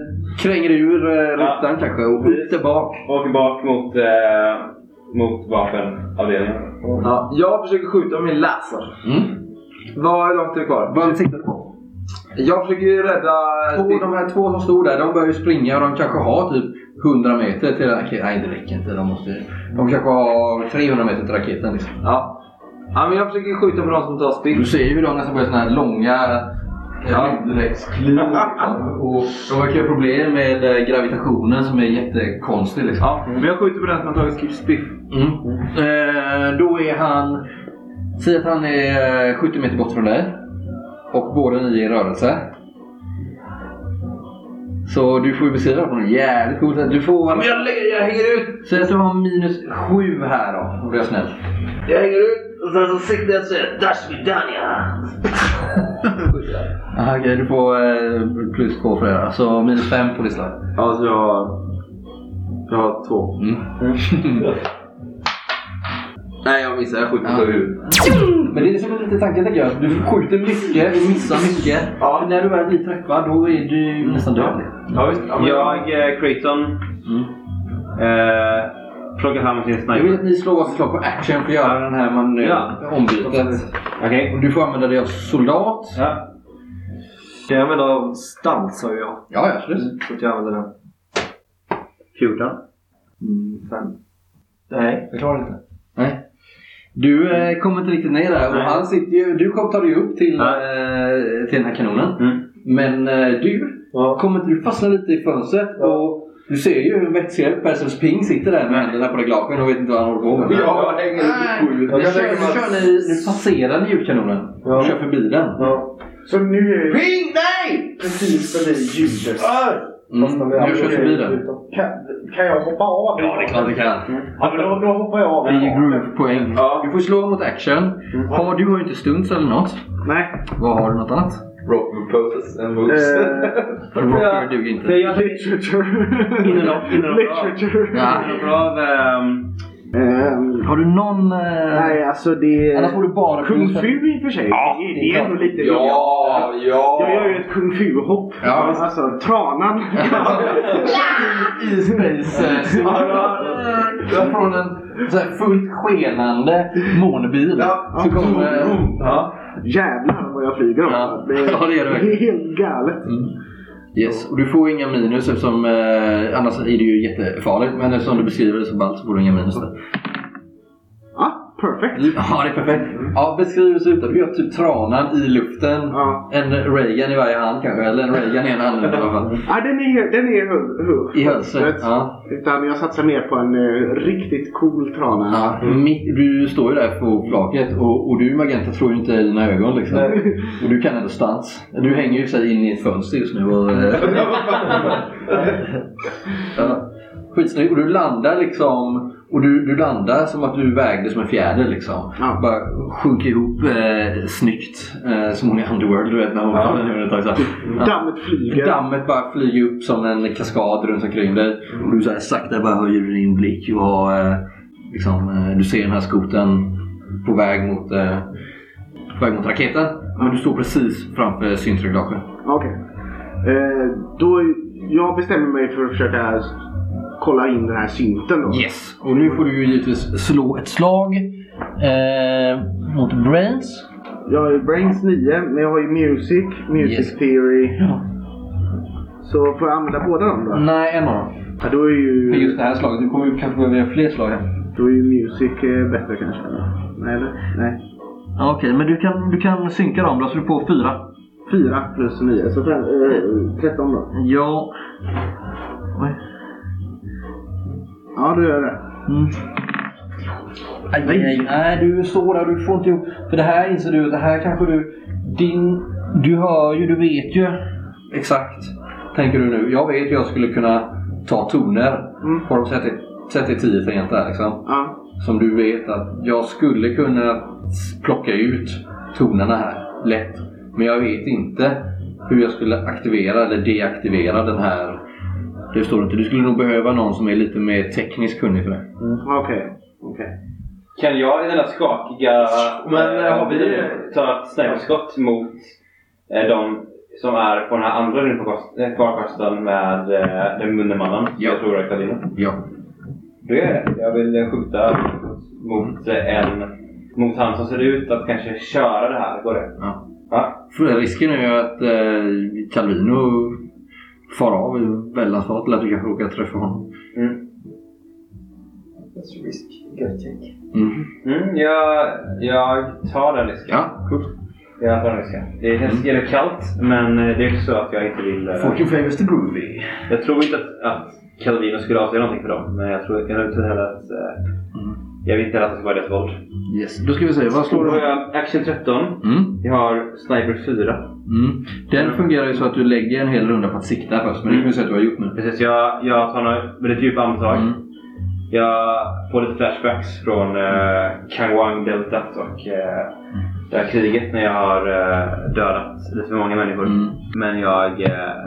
kränger ur eh,
Ja.
rutan kanske och upp där bak.
Åker bak mot, eh, mot vapenavdelningen.
Ja, jag försöker skjuta med min laser.
Mm.
Vad är långt är det kvar?
Vad siktar du på?
Jag försöker ju rädda...
Två, de här två som stod där, de börjar ju springa och de kanske har typ 100 meter till raketen. Nej, det räcker inte. De, måste, ju- de kanske har 300 meter till raketen liksom.
Ja. ja, men jag försöker skjuta på de som tar
Du
stick.
ser ju hur de nästan börjar såna här långa
Ja. [LAUGHS]
rymddräktskliv. liksom. Och de verkar ha problem med eh, gravitationen som är jättekonstig. Liksom.
Ja, men jag skjuter på den som har tagit skip spiff.
Mm. Eh, då är han... Säg att han är eh, 70 meter bort från dig. Och båda ni är i rörelse. Så du får ju beskriva det på något jävligt coolt sätt. Du får... Men jag, lägger- jag hänger ut! Säg att du har minus 7 här då, om du är snäll.
Jag hänger ut och sen så siktar jag och säger Dash Vidania.
Aha, okej, du får eh, plus 2 för det här. Så minus 5 på listan.
Ja, så jag har... Jag har två.
Mm.
[LAUGHS] Nej, jag missar. Jag skjuter på
Ja.
huvudet.
Men det är som en liten tanke tänker jag. Du skjuter mycket, du missar mycket.
Ja.
För när du väl blir träffad då är du nästan död.
Ja, visst. Ja, men
Jag, eh, Creighton, eh, plockar fram sin
Jag
sniper.
Mm. vill att ni slår varsitt slag på action för att göra den här man
Ja.
ombytet.
Okej.
Och du får använda dig av soldat.
Ja.
Kan jag använda av stans har ju jag.
Ja, ja, absolut.
Så att jag använder den.
14.
Mm, fem. Nej, jag klarar inte.
Nej. Du eh, kommer inte riktigt ner där. Och
Nej.
han sitter ju, du kom, tar dig upp till,
Ja.
eh, till den här kanonen.
Mm.
Men eh, du,
Ja.
kommer inte du fastna lite i fönstret? Och du ser ju hur en vätskrämd Persons Ping sitter där med händerna på reglagen och vet inte vad han håller på med.
Jag hänger ut på
Nu
huvudet.
kör, nu, kör ni, nu passerar ni ljudkanonen.
Ja.
Mm.
Ni kör förbi den.
Ja. Så nu är
Ring dig!
precis bredvid ljudet.
Fast den
Mm. Du kör förbi den.
Kan, kan jag hoppa av?
Ja, det är klart du kan.
Ja, men då, då hoppar jag av.
Det är ju groove-poäng. Du får slå mot action. Har, du har ju inte stunts eller något.
Nej.
Vad har du något annat?
Rock with poses and moves.
Eh,
Eh,
Rocker duger
För
inte.
jag Innan innan de drar-
Ja.
innan de drar ehm,
Ehm,
Har du någon... eh,
nej, alltså det...
Annars får du bara...
Kung fu i och för sig.
Ja,
det,
det
det
är
är ändå lite...
Ja,
Jag gör ju
ja!
ett kung fu-hopp.
Ja, visst.
alltså, tranan.
I space. eh, så- Från en så här fullt skenande månbil.
Ja.
Så kommer...
Ja.
Jävlar vad jag flyger
Ja.
också.
Ja, det är det
det är helt galet.
Yes, och du får inga minus eftersom eh, annars är det ju jättefarligt. Men eftersom du beskriver det så ballt så får du inga minus där.
Ja, perfect.
Ja, det är perfekt. Ja, beskriv hur det ser ut. då. Du gör typ tranan i luften.
Ja.
En Reagan i varje hand kanske. Eller en Reagan i ena handen i alla fall.
Ja, den är, den är hu- hu-
I hölstret. Ja.
Utan jag satsar mer på en eh, riktigt cool trana.
Ja. Mitt, du står ju där på flaket och, och du Magenta tror ju inte i dina ögon liksom. Och du kan ändå stans. Du hänger ju sig in i ett fönster just nu. Och, eh, ja. Skitsnygg. Och du landar liksom. Och du, du landar som att du vägde som en fjäder liksom.
Ja.
Bara sjunker ihop eh, snyggt. Eh, som hon i Underworld du vet när hon faller ner ett tag så här. Ja.
Dammet flyger.
Dammet bara flyger upp som en kaskad runt omkring dig. Och du så här sakta bara höjer din blick. Och, har, eh, liksom, eh, du ser den här skoten på väg mot, eh, på väg mot raketen. Men du står precis framför syntreglaget.
Okej. Eh, då, jag bestämmer mig för att försöka s- kolla in den här synten då.
Yes! Och nu får du ju givetvis slå ett slag eh, mot Brains.
Jag har ju Brains 9, men jag har ju Music, Music
Yes.
Theory. Så får jag använda båda dem då?
Nej, en av dem.
Ja, då är ju,
För Mm. just det här slaget. Du kommer ju kanske behöva göra fler slag här.
då är ju Music eh, bättre kanske. eller? Nej, eller? Nej.
Ja, Okej, men du kan, du kan synka dem då så du får fyra.
4 plus 9, så fem, eh, 13 då.
Ja. Oj.
Ja, då gör jag det.
Aj, aj, aj. Nej, du står där du får inte ihop. För det här inser du, det här kanske du... Din... Du hör ju, du vet ju. Exakt. Tänker du nu. Jag vet ju jag skulle kunna ta toner.
Mm.
Har de sett i- sett i tio tangenter här liksom.
Ja.
Som du vet att jag skulle kunna plocka ut tonerna här lätt. Men jag vet inte hur jag skulle aktivera eller deaktivera den här. Det står inte. Du skulle nog behöva någon som är lite mer tekniskt kunnig för det.
Okej. Okej.
Kan jag i den där skakiga
Men, eh, har vi-
eh, ta ett snipeskott mot eh, de som är på den här andra rymdfarkost- eh, farkosten med eh, den mundermannen?
Ja.
Jag tror jag kan vinna.
Ja.
Då gör jag det. Jag vill eh, skjuta mot eh, en mot han som ser ut att kanske köra det här. Går det?
Ja.
Ja.
För Risken är ju att eh, Calvino far av i väldans fart eller att du kanske råkar träffa honom.
Mm.
That's a risk. Good take.
Mm, jag, jag tar den risken.
Ja, Mm. coolt.
Jag tar den risken. Det känns jävligt kallt men eh, det är så att jag inte vill... eh,
Fortune favors the groovy.
Jag tror inte att, att Calvino skulle avslöja någonting för dem. Men jag tror, jag tror inte heller att... Eh, Jag vill inte heller att det ska vara deras våld.
Yes. Då ska vi se, vad
Då
slår
har
du?
jag Action 13.
Mm.
Jag har Sniper 4.
Mm. Den fungerar ju så att du lägger en hel runda på att sikta först. Men det kan vi se att du har gjort nu.
Precis, jag, jag tar några väldigt djupa andetag.
Mm.
Jag får lite flashbacks från eh, Kangwang-deltat och eh, det här kriget när jag har eh, dödat lite för många människor.
Mm.
Men jag eh,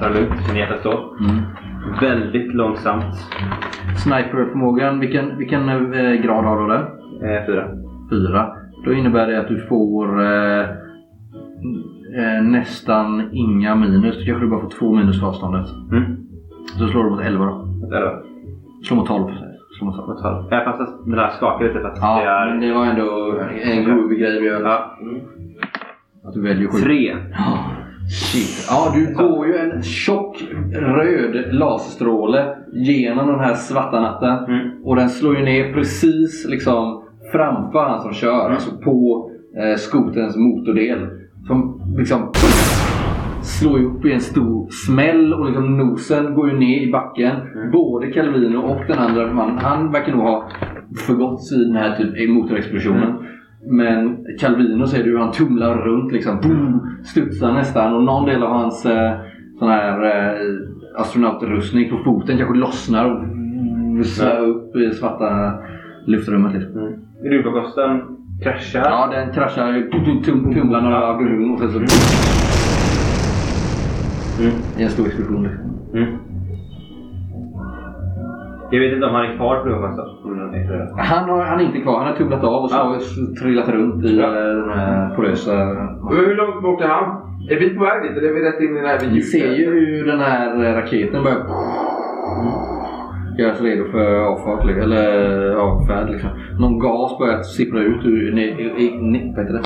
tar det lugnt, som hjärtat slår.
Mm.
Väldigt långsamt.
Sniperförmågan, vilken, vilken eh, grad har du där?
Eh, fyra.
Fyra. Då innebär det att du får eh, eh, nästan inga minus. Då kanske du bara får två minus för avståndet.
Mm.
Så slår du mot 11 då.
Elva.
Slå mot 12. Slå mot 12.
Jag fast att den där skakar lite för att
Ja,
det
men
är...
det var ändå en groovy grej vi gör.
Ja.
Att du väljer sju.
Tre.
Ja, Shit. Ja, du går ju en tjock röd laserstråle genom den här svarta natten.
Mm.
Och den slår ju ner precis liksom framför han som kör. Alltså på eh, skotens motordel. Som liksom slår ju upp i en stor smäll och liksom nosen går ju ner i backen. Både Calvino och den andra mannen, han verkar nog ha förgåtts i den här typ, i motorexplosionen. Men Calvino ser du hur han tumlar runt liksom. Boom, studsar nästan och någon del av hans eh, sån här eh, astronautrustning på foten kanske lossnar och snöar upp i svarta luftrummet. Liksom.
Rymdfarkosten kraschar.
Ja, den kraschar, ju, tum- tum- tum- tumlar några gruvor och sen så... I en stor explosion. liksom.
Mm. Jag vet inte om han är kvar på Rymdfarkosten.
Han, har, han är inte kvar, han har tumlat av och så
Ja.
har s- trillat runt i
Ja.
eh, den här porösa...
Men hur långt bort är han? Är vi på väg dit eller är vi rätt in i den här vid
Ni
djupet?
ser ju hur den här eh, raketen börjar göras redo för avfart, li- eller avfärd. Liksom. Någon gas börjar sippra ut ur, ne, i, ne, vad heter det?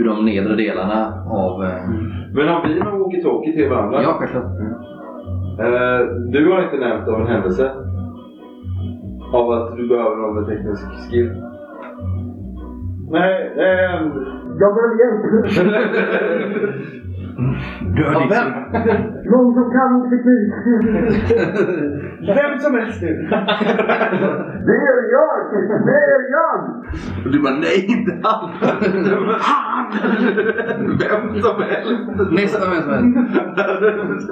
ur de nedre delarna av... eh,
Men har vi någon walkie-talkie till varandra?
Ja, självklart.
Eh, du har inte nämnt av en händelse? Av att du behöver någon med teknisk skill?
Nej, ehm,
Jag behöver hjälp.
Dör Dixon.
Någon som kan teknik.
vem som helst nu.
Det är jag! Det är jag!
Och Du bara nej, inte han!
[LAUGHS] Vem som helst!
Nästa vem som helst.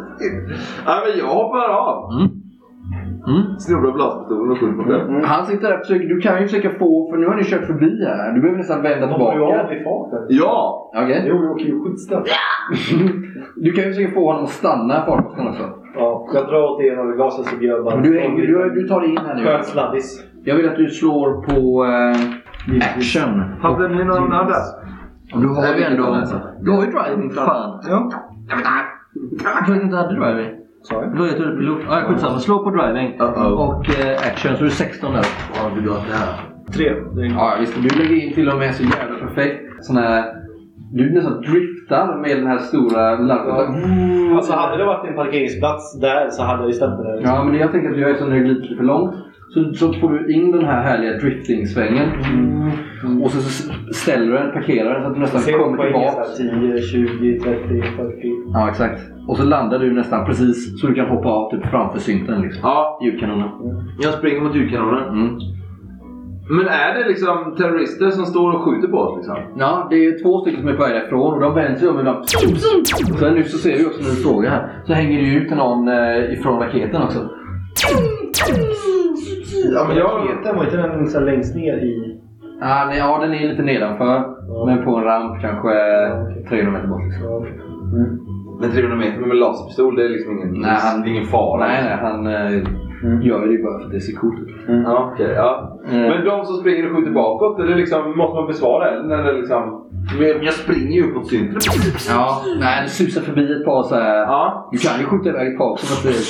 ja, men jag hoppar av!
Mm. Mm.
Snubblar blaspistolen och skjuter på själv.
Han sitter där och försöker, du kan ju försöka få, för nu har ni kört förbi här. Du behöver nästan vända
De var ju av
tillbaka.
i farten.
Ja!
Okej.
Jo, vi åker ju skitsnabbt.
Du kan ju försöka få honom att stanna farkosten också.
Ja, jag drar åt ena överglaset så blir jag bara...
Men Du, hänger- du, du tar dig in här nu.
Skön sladdis.
Jag vill att du slår på eh, action.
Hade ni någon annan?
Och du har ju ändå... Du har ju driving för fan.
Ja.
Jag tror inte du hade driving.
Sa jag?
Då är det pilot. Ah, skitsamma, slå på driving. Och eh, action, så är det 16 där.
Ja, du drar det här.
Tre. Det är-
Ja visst, du lägger in till och med så jävla perfekt sån här... Du nästan driftar med den här stora larvet.
Alltså hade det varit en parkeringsplats där så hade jag ju ställt mig där.
Ja men det jag tänker att du gör är så när du glider lite för långt. Så, så får du in den här härliga driftingsvängen. Och så, så ställer du den, parkerar den så att
Jag
du nästan
Mm. ser
kommer
poängen
tillbaka.
så här 10, 20, 30, 40.
Ja exakt. Och så landar du nästan precis så du kan hoppa av typ framför synten liksom.
Ja,
Ljudkanonen.
jag springer mot ljudkanonen.
Mm.
Men är det liksom terrorister som står och skjuter på oss liksom?
Ja, det är ju två stycken som är på väg därifrån och de vänder sig om och de... Sen nu så ser vi också när du frågar här, så hänger det ju ut någon eh, ifrån raketen också.
Ja, men jag...
Raketen var inte den så här längst ner i...
Ja, nej, ja, den är lite nedanför.
Ja.
Men på en ramp kanske
okej.
300 meter bort. Liksom.
Ja.
Men 300 meter med laserpistol, det är liksom ingen,
Nej, han-
det är ingen fara.
Nej, nej, han eh, gör ju det bara för att det ser coolt ut.
Ja, okej, ja.
Mm.
Men de som springer och skjuter bakåt, är det liksom, måste man besvara elden eller liksom? Men Jag springer ju uppåt synten.
Ja, nej, det susar förbi ett par så här.
Ja.
Du kan ju skjuta iväg ett par också för att det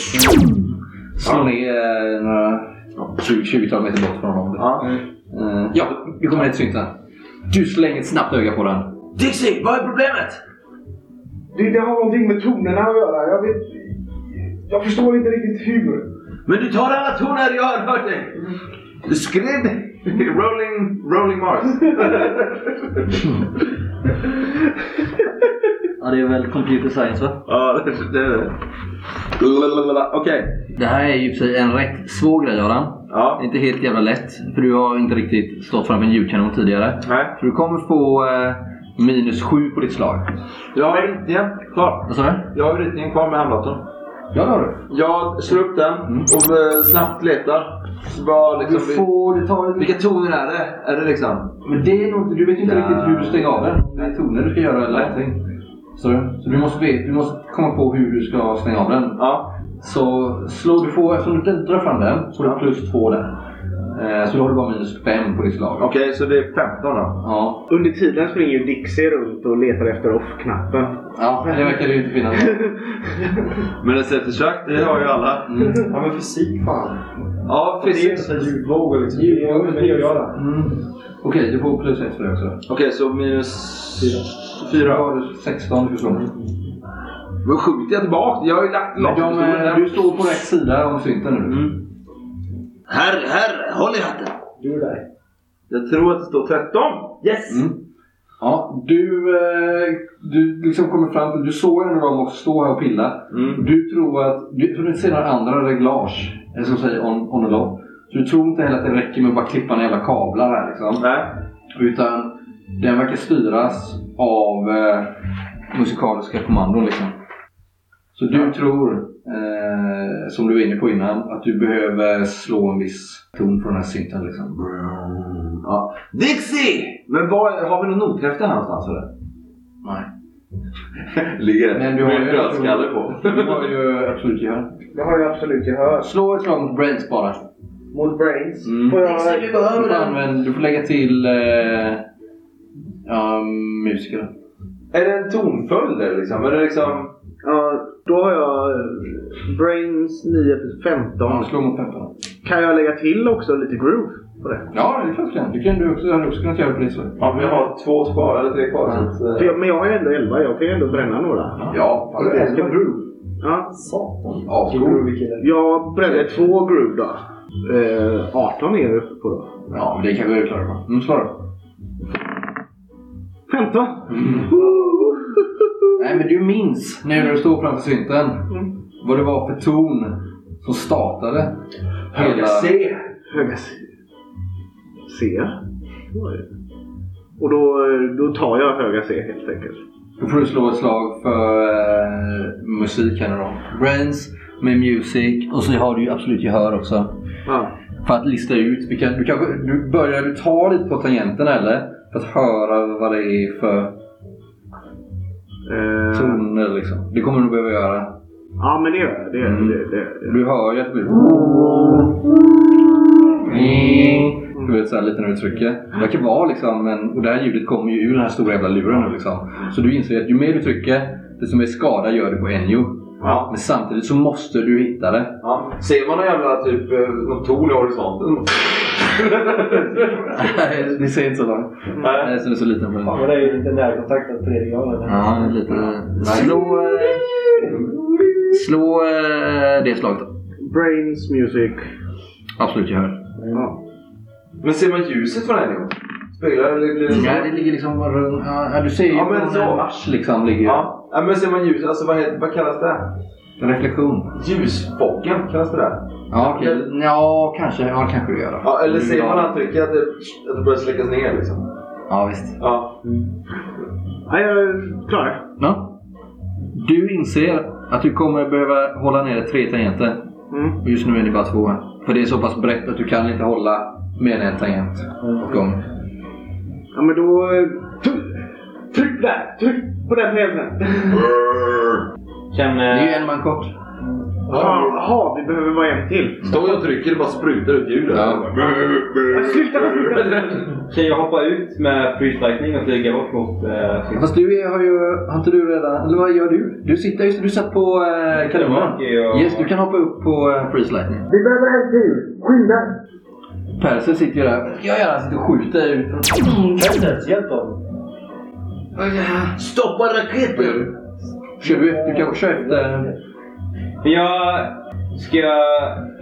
slår ner eh, några 20 20-tal meter bort från honom.
ja.
Eh, ja, vi kommer ner till synten. Du slänger ett snabbt öga på den.
Dixie, vad är problemet?
Det, det har någonting med tonerna att göra. Jag vet... Jag förstår inte riktigt hur.
Men du tar alla toner, jag har hört dig.
Skrid! [LAUGHS] Rolling, rolling Mars.
Ja, det är väl computer science va?
[LAUGHS] ja, det det är det. Lalalala, Okej.
Det här är ju i och för sig en rätt svår grej Göran. Det
Ja.
är inte helt jävla lätt. För du har inte riktigt stått framför en ljudkanon tidigare.
Nej.
Så du kommer få eh, minus 7 på ditt slag.
Jag har ritningen kvar.
Vad sa du?
Jag har ritningen kvar med handdatorn.
Ja det har du.
Jag slår upp den och eh, snabbt letar. Så Vad liksom...
Du får... Du tar en...
Vilka toner är det? Är det liksom...
Men det är nog inte... Du vet ju inte
Ja.
riktigt hur du stänger av den. Om Det är toner du ska göra eller
Nej.
någonting. Så, så du, måste, veta- du måste komma på hur du ska stänga av den.
Ja.
Så slår du får... Eftersom du inte drar fram den så får du plus 2 där. Eh, så då har du bara minus 5 på ditt slag.
Okej, så det är 15 då.
Ja.
Under tiden springer ju Dixie runt och letar efter off-knappen.
Ja, det verkar ju inte [LAUGHS] finnas.
Men ett säkerhetsförsök, det har ju alla.
Ja men fysik fan.
Ja,
Det är ju
precis.
så här ljudvågor liksom.
Ljudvågor,
Men det gör jag då.
Mm. Okej, du får plus ett för det också.
Okej, så minus...
Fyra. Då har du 16 du slår.
Vad sjukt, jag är tillbaka. Jag har ju lagt
Men de,
laserpistolen
eh,
där.
du står på rätt sida om synten nu.
Herre, herre, håll i hatten.
Du är där.
Jag tror att det står 13. Yes!
Mm. Ja, du, eh, du liksom kommer fram till, du såg ändå dem också stå här och pilla.
Mm.
Du tror att, du tror inte ser några andra reglage, eller som säger on, on and off. Så du tror inte heller att det räcker med att bara klippa några jävla kablar här liksom.
Nej.
Utan den verkar styras av eh, musikaliska kommandon liksom.
Så du tror, eh, som du var inne på innan, att du behöver slå en viss ton på den här synten liksom.
Ja. Dixie! Men var, har vi någon nothäfte här någonstans eller?
Nej.
[LAUGHS] Ligger det?
Men du har
Med
ju-
en dödskalle på. [LAUGHS]
Du har ju absolut gehör.
Det har jag absolut gehör.
Slå ett slag mot brains bara.
Mot brains.
Mm.
Får jag...
Dixie, vi
Du
behöver
får,
den.
använda, du får lägga till eh, ja, musiker. då.
Är det en tonföljd eller liksom? Är det liksom...
Ja, då har jag eh, Brains 9 plus
Ja,
15.
slå mot 15.
Kan jag lägga till också lite groove på det?
Ja, det är klart du kan. Du kan du också, du hade också kunnat göra på det sättet.
Ja, men jag har två kvar, eller tre kvar. så att,
För
eh,
jag, men jag har ju ändå 11, jag kan ju ändå bränna några.
Ja, fan, det är
Elva groove? Ja.
Satan.
ascoolt.
Groovy kille.
Jag bränner två groove då. Eh, 18 är jag uppe på då.
Ja, men det kan vi klara på. Mm, slå då.
15!
[LAUGHS] Nej, men du minns nu när du står framför synten
Mm.
vad det var för ton som startade hela...
Se!
Höga C. C. Vad är det? Och då, då tar jag höga C helt enkelt.
Då får du slå ett slag för eh, musik här nu då.
Brains med music och så har du ju absolut gehör också.
Ja.
För att lista ut vilka... Du, kanske, du börjar du ta lite på tangenterna eller? För att höra vad det är för
Eh,
toner liksom. Det kommer du nog behöva göra.
ja men det gör jag. Det, gör jag,
Mm.
det, det, det.
Du hör ju att det blir... Du vet såhär lite när du trycker. Det verkar vara liksom en... Och det här ljudet kommer ju ur den här stora jävla luren nu liksom. Så du inser att ju mer du trycker desto mer skada gör det på Enjo.
Ja.
Men samtidigt så måste du hitta det.
ja. Ser man någon jävla typ eh, någon torn i horisonten?
Nej, Ni ser inte så långt.
Nej.
Nej, så det är så liten för
Fan vad det är ju lite närkontakt av tredje graden.
Ja, lite. Slå... eh, Slå eh, det slaget då.
Brains music.
Absolut gehör.
Ja.
Men ser man ljuset från den? Speglar eller blir det så?
Nej, det ligger liksom runt... Ja, du ser ju
Mm. Ja,
ja,
men
men
så.
mars liksom ligger ju.
Ja. ja, men ser man ljuset? Alltså vad, heter, vad kallas det?
Reflektion.
Ljusfocken, kallas det det?
Ja, okej. Ja, kanske. Ja, det kanske du gör. då.
Ja, eller ser
Ja.
man antrycket att det, att det börjar släckas ner liksom?
Ja, visst.
Ja.
ja jag är klar.
Ja. Du inser att du kommer behöva hålla nere tre tangenter.
Mm.
Och just nu är det bara två här. För det är så pass brett att du kan inte hålla mer än en tangent åt gången.
Ja men då... eh, tryck- Tryck där! Tryck på den pelsen!
Kan,
Det är ju
eh,
en man kort.
Jaha, vi behöver vara en till.
Står jag och trycker det bara sprutar ut ljud.
Ja.
Ja, Sluta! sluta.
kan jag hoppa ut med freeze lightning och flyga bort mot eh, synten?
Fast du är, har ju... Har inte du redan... Eller vad gör du? Du sitter... Just det, du satt på eh, kaluman.
Jag-
Yes, du kan hoppa upp på eh, freeze lightning.
Vi behöver en till! Skynda!
Perser sitter ju där. Vad ska jag göra? Han sitter och skjuter ut.
Fältet, hjälp dem!
Stoppa raketer!
Kör du efter? Du kanske kör efter...
Men jag... Ska jag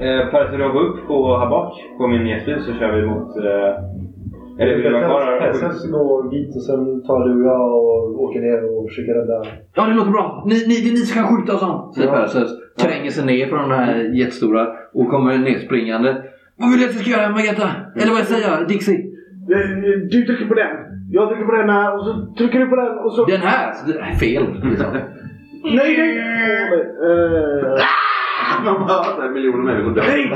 eh, Percy hoppa upp på här bak på min jetbil så kör vi mot... Eh, eller vill du vara kvar här?
Sen så går dit och sen tar du och jag och åker ner och försöker rädda.
Ja, det låter bra. Ni, ni, det är ni som kan skjuta och sånt. Säger Perseus. Tränger sig ner från den här jättestora och kommer nerspringande. Vad vill du att jag ska göra, Margareta? Eller vad jag säger, Dixie?
Eh, Du trycker på den. Jag trycker på den här och så trycker du på den och så...
Den här? Så det- Fel. Liksom.
Nej, nej! Eh,
[LAUGHS] Man bara, så här, miljoner människor dör.
Nej!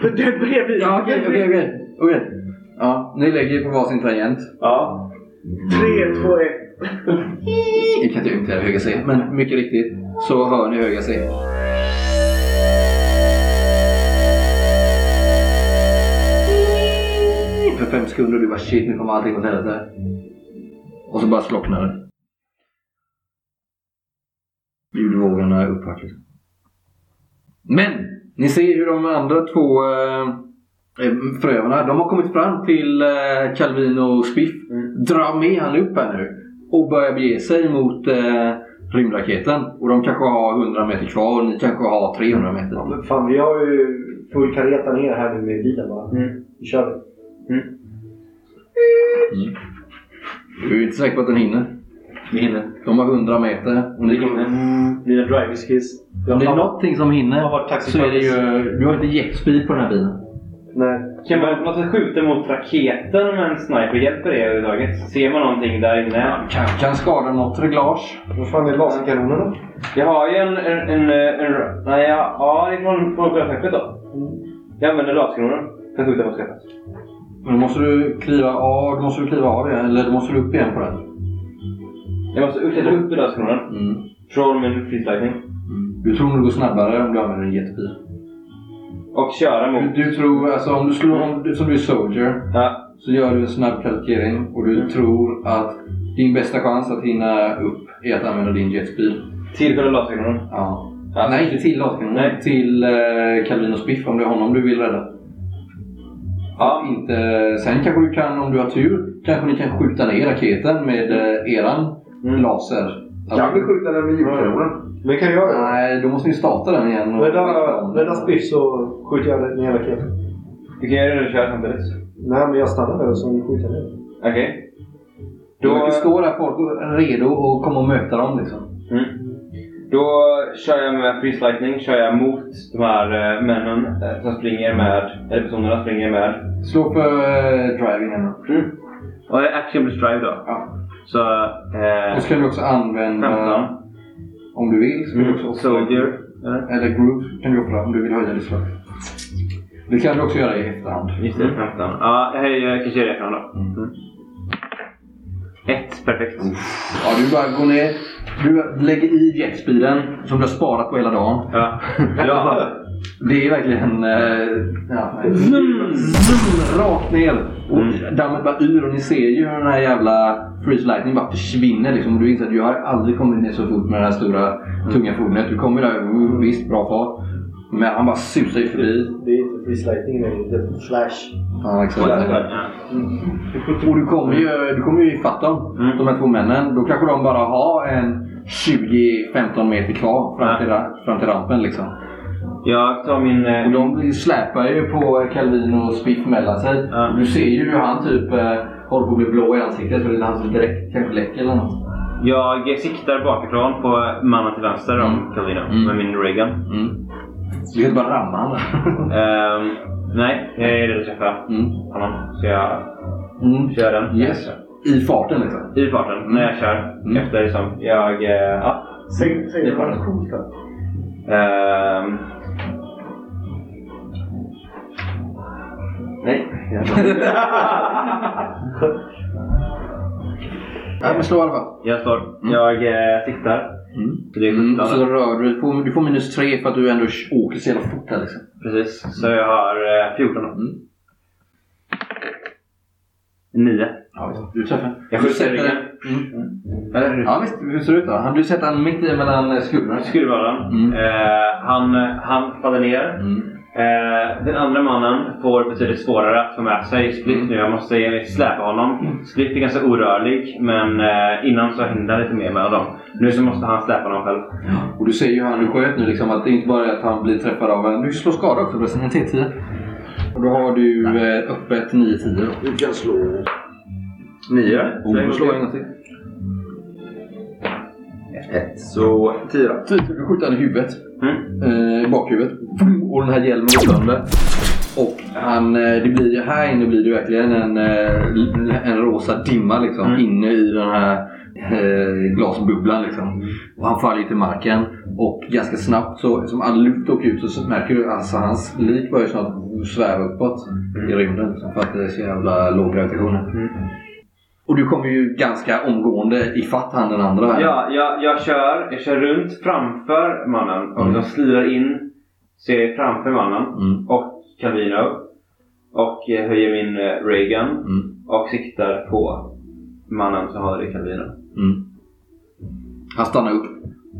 För den bredvid.
Ja, okej, okej, okej. Okej. Ja, ni lägger på varsin tangent.
Ja.
3, 2, 1.
Ni kan inte ytterligare höga C, men mycket riktigt så hör ni höga C. För fem sekunder och du bara shit, nu kommer allting åt helvete. Och så bara slocknar det. Ljudvågorna är upphört liksom. Men! Ni ser hur de andra två eh, eh, fröerna, de har kommit fram till eh, Calvin och Spiff. Drar med han upp här nu och börjar bege sig mot eh, rymdraketen. Och de kanske har 100 meter kvar och ni kanske har 300 meter.
Men fan, vi har ju full kareta ner här nu med bilen bara.
Mm.
Nu kör vi.
Du är inte säker på att den hinner.
Vi hinner.
De har 100 meter. Och ni
Vi hinner.
Lilla driving skills.
Om det är någonting som
Jag
hinner
har varit
så är det ju... Du har inte jetspeed på den här bilen.
Nej.
Kan man på något sätt skjuta mot raketen med en sniper? Hjälper det överhuvudtaget? Ser man någonting där inne?
Kan, kan skada något reglage.
Vad fan är laserkanonerna?
Jag har ju en... en, en, en nej, ja, ja, det är från, från skeppet då. Jag använder laserkanonen för att skjuta mot skeppet.
Men då måste du kliva av, då måste du kliva av igen, eller då måste du upp igen på den.
Jag måste uppdatera upp i laserkanonen
Mm.
från min flytlightning
Du tror nog det går snabbare om du använder en jetpil.
och köra
Du,
mot...
du tror, alltså om du slår, om du, som du är soldier,
Ja,
så gör du en snabb kalkering och du tror att din bästa chans att hinna upp är att använda din jetbil.
till själva laserkanonen.
Ja.
Ja.
Nej, inte till Latkanonen.
Nej.
Till eh, Calvin och Spiff om det är honom du vill rädda.
Ja.
Inte, sen kanske du kan, om du har tur, kanske ni kan skjuta ner raketen med eh, eran
Mm.
laser.
Kan vi skjuta den med ljudkanonen?
Men kan jag göra?
Nej, då måste ni starta den igen. och-
Rädda, rädda Spiff så skjuter jag ner raketen.
Du kan göra det och köra samtidigt.
Nej, men jag stannar där och så skjuter jag ner.
Okej.
Du
Då,
verkar stå där folk är redo att komma och möta dem liksom.
mm. då kör jag med freeze lightning, kör jag mot de här eh, männen eh, som springer med, eller personerna springer med.
Slå för eh, driving här nu.
Och det är action plus drive då.
Ja.
Så...
Och
Eh,
så kan du också använda,
15.
om du vill, så kan du också
Mm.
offra-
Soldier. eller?
eller groove kan du offra om du vill höja ditt slag. Det kan du också göra i efterhand.
Just det, 15. Mm, Ja, jag höjer kanske det från då.
Mm.
Mm. Ett, perfekt.
Ja, du bara går ner, du lägger i jetspeeden som du har sparat på hela
[LAUGHS]
dagen.
Ja. ja.
Det är verkligen... Eh, ja, zoom, zoom, rakt ner. Och
Mm.
dammet bara yr och ni ser ju hur den här jävla freeze lightning bara försvinner liksom. Och du inser att du har aldrig kommit ner så fort med det här stora tunga fordonet. Du kommer där, mm, visst bra fart. Men han bara susar ju förbi.
Det är inte freeze lightning längre, det är flash.
Ja, exakt.
Ja.
Och du kommer ju, du kommer ju ifatt dem,
Mm.
de här två männen. Då kanske de bara har en 20-15 meter kvar fram till, ra- fram till rampen liksom.
Jag tar min...
Och
Eh,
de släpar ju på Calvin och Spiff mellan sig.
Ja.
Du ser ju hur han typ eh, håller på att bli blå i ansiktet för det är hans direkt kanske läcker eller något.
jag siktar bakifrån på mannen till vänster om
Mm.
Kalina
Mm.
med min Reagan.
Mm. Du kan bara ramma han [LAUGHS] där.
Ehm, nej, jag är redo att träffa
mm.
honom. Så jag
Mm.
kör den.
Yes. I farten liksom.
I farten, när jag kör.
Mm.
Efter liksom, jag... eh, ja.
Säg, säg
Det var
något coolt då.
Ehm. nej.
Ja, men slå i alla fall.
Jag står. Jag eh, siktar. Så det är
Mm.
17.
Och så rör du dig. på- Du får minus tre för att du ändå åker så jävla fort där liksom.
Precis. Så jag har eh, 14 då.
Mm.
9.
Ja, visst. du träffar.
Jag
Du
skjuter
sätter-
ringen.
Mm. Ja visst, hur ser det ut då? Han- Du sätter han mitt i mellan eh, skulderna.
Skruvaren.
Mm.
Eh, han, han faller ner.
Mm.
Eh, den andra mannen får betydligt svårare att få med sig Split nu. Jag måste släpa honom. Split är ganska orörlig men eh, innan så hände det lite mer mellan dem. Nu så måste han släpa honom själv.
Och du ser ju hur han du sköt nu liksom att det är inte bara att han blir träffad av en... Du slår skada också förresten, en T10. Och då har du eh, öppet 9-10 då.
Du kan slå.
Nio.
Och du får slå en gång till.
Ett, så tio då.
Du du skjuter han i huvudet.
Mm.
Eh, i bakhuvudet. Och den här hjälmen går sönder. Och han, eh, det blir, ju- här inne blir det verkligen en, eh, en rosa dimma liksom.
Mm.
Inne i den här eh, glasbubblan liksom. Och han faller ju till marken. Och ganska snabbt så, som all luft åker ut så märker du alltså hans lik börjar snart sväva uppåt i rymden. Liksom, för att det är så jävla låg gravitation här.
Mm.
Och du kommer ju ganska omgående ifatt han den andra. här.
Ja, jag, jag, kör, jag kör runt framför mannen och
Mm.
de slirar in. Så jag är framför mannen
Mm.
och Calvino. Och eh, höjer min eh, Reagan
Mm.
och siktar på mannen som håller i Calvino.
Mm. Han stannar upp.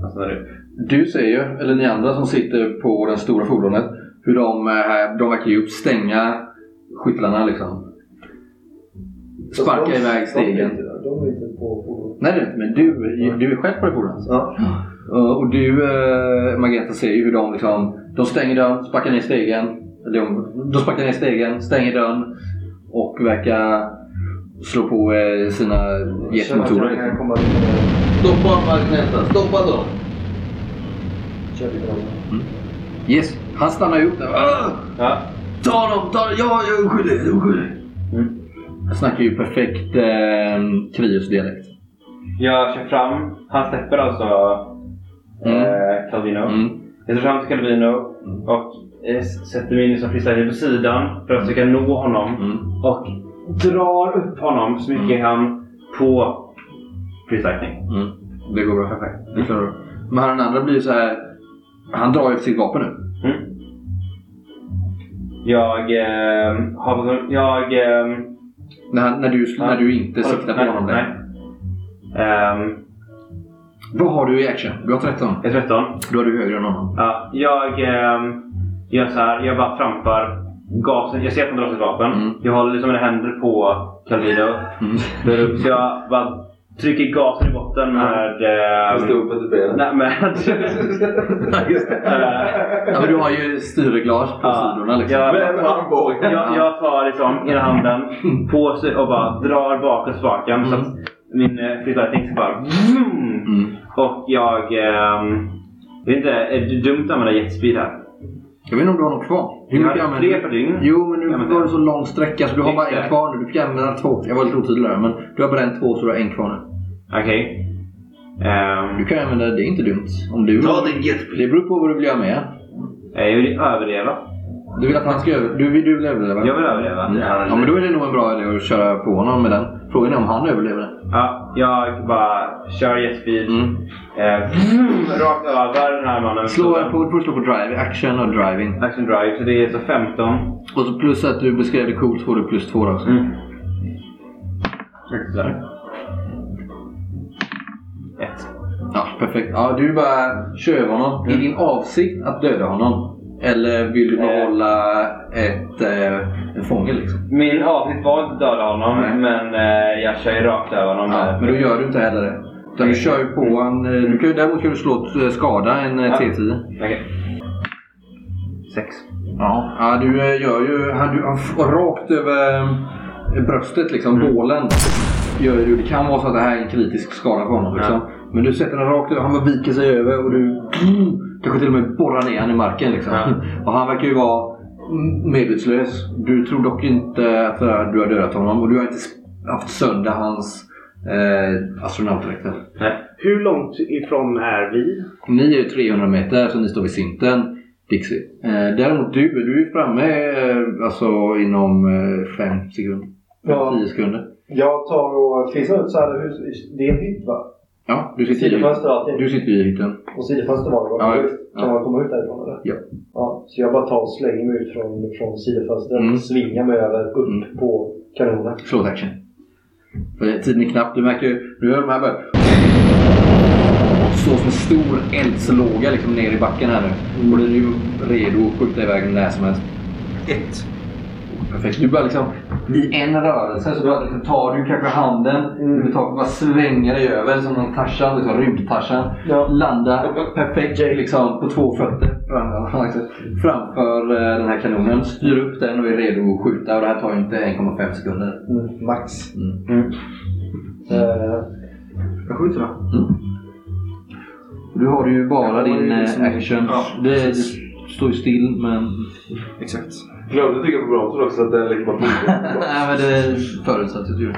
Han stannar upp.
Du ser ju, eller ni andra som sitter på det stora fordonet, hur de, eh, de verkar ju uppstänga skyttlarna liksom. Sparka
De-
iväg
De är
stegen.
inte, de är inte på fordonet.
Nej, det är inte, men du, du är själv på det fordonet.
Ja.
Eh, Och du, eh, Magenta, ser ju hur de liksom, de stänger dörren, sparkar ner stegen. Eller De, de sparkar ner stegen, stänger dörren och verkar slå på eh, sina jetmotorer.
Jag känner att jag kan
Liksom.
komma lite-
Stoppa Magneta, stoppa dem!
kör lite grann.
Yes, han stannar ju upp där. Ah!
Ja.
Ta honom! Ta honom! Ja, jag är oskyldig! Jag är oskyldig! Mm. Jag snackar ju perfekt eh, Krios-dialekt.
Jag kör fram. Han släpper alltså eh, Calvino.
Mm.
Jag tar fram till Calvino och eh, s- sätter mig in som freestyler på sidan för att försöka nå honom.
Mm.
Och drar upp honom så mycket han på freestyling.
Mm. Det går bra. Perfekt. Det
Mm.
klarar du. Men han den andra blir ju så här. Han drar ju efter sitt vapen nu.
Mm. Jag eh, har... Jag... Eh,
När, han, när, du, när du inte siktar på
nej,
honom
Nej.
längre.
Ehm,
Vad har du i action? Du har 13.
jag är 13.
Då är du högre än honom.
Ja, jag ehm, gör så här. Jag bara trampar gasen. Jag ser att han drar sitt vapen.
Mm.
Jag håller liksom mina händer på Calvino.
Mm.
Där uppe. Så jag bara trycker gasen i botten med...
Jag
ehm,
står uppe till benen.
nej, med
[LAUGHS]
[LAUGHS]
[LAUGHS]
Eh,
Ja, men du har ju styrreglage på
Ja.
sidorna liksom.
jag,
Med en armbåge.
jag, jag tar liksom ena handen på sig och bara drar bakåt spaken så att min eh, flytlighting ska bara... vroom.
Mm.
Och jag... ehm, jag vet inte, är det dumt att använda jetspeed här?
Jag vet inte om du har något kvar. Hur
Jag
mycket
har
använder
tre
du?
per dygn.
Jo, men nu
Ja, men
var
det-
det så lång sträcka så du har
Just
bara
det.
en kvar nu. Du fick använda två. Jag var lite otydlig där, men du har bränt två så du har en kvar nu.
Okej. Ehm,
Du kan använda, det är inte dumt. Om du... Ta din Det beror på vad du vill göra med.
jag vill överleva.
Du vill att han ska över... Du vill, du vill överleva?
Jag vill överleva.
Ja, men då är det nog en bra idé att köra på honom med den. Frågan är om han överlever den.
Ja, jag bara kör jetspeed.
Mm.
Eh, vroom, rakt över den här mannen.
Slå på, får slå på drive, action och driving.
Action drive, så det är så 15.
Och så plus att du beskrev det coolt får du plus två då också.
Mm.
Där.
Ett.
Ja, perfekt. Ja, du bara kör över honom.
Mm.
Är din avsikt att döda honom? Eller vill du
Eh.
behålla ett, eh, en fånge liksom?
Min avsikt var att döda honom,
Mm.
Nej.
men eh, jag kör ju rakt över honom.
Ja, men då gör du inte heller det. Utan du kör ju på en... eh, Du kan, ju- däremot kan du slå ett, eh, skada en eh,
Ja.
T10.
Okej. Sex.
Ja, ja du eh, gör ju... Han, du, han, f- rakt över eh, bröstet, liksom, bålen. Gör du, det kan vara så att det här är en kritisk skada för honom. Liksom. Men du sätter den rakt över, han bara viker sig över och du kanske till och med borrar ner honom i marken. Liksom. [LAUGHS] Och han verkar ju vara mm, medvetslös. Du tror dock inte att eh, du har dödat honom och du har inte s- haft sönder hans eh, astronautdräkt heller.
Hur långt ifrån är vi?
Ni är ju 300 meter så ni står vid Sinten, Dixie. Eh, däremot du, du är ju framme eh, alltså, inom eh, 5 sekunder. 10
Ja.
sekunder.
Jag tar och... Finns det något så här hus? Det är en hytt va?
Ja, du sitter, i,
Sidofönster och allting.
du sitter i hytten.
Och sidofönster var det va?
Ja,
Kan
ja.
man komma ut därifrån eller?
Ja.
ja. Så jag bara tar och slänger mig ut från, från sidofönstret.
Mm.
Svingar mig över upp
Mm.
på kanonen.
Slå ett action. För Tiden är knapp. Du märker ju, nu hör de här bara... Står som en stor eldslåga liksom ner i backen här nu. Och den är ju redo att skjuta iväg när som helst.
Ett.
Perfekt. Du bara liksom, i en rörelse så bara liksom tar du kanske handen,
Mm.
du tar, bara svänger dig över som någon Tarzan, liksom rymd-Tarzan.
Ja.
Landar perfekt liksom, på två fötter fram, [LAUGHS] liksom, framför eh, den här kanonen. Styr upp den och är redo att skjuta. Och det här tar ju inte 1,5 sekunder.
Mm. Max.
Mm.
Eh,
Jag skjuter då.
Du har ju bara
Jag har ju
din eh,
liksom-
action.
Ja,
det, det står ju still men...
Exakt.
Glömde trycka på bromsen också så att den liksom har blivit.
Nej men det förutsattes ju.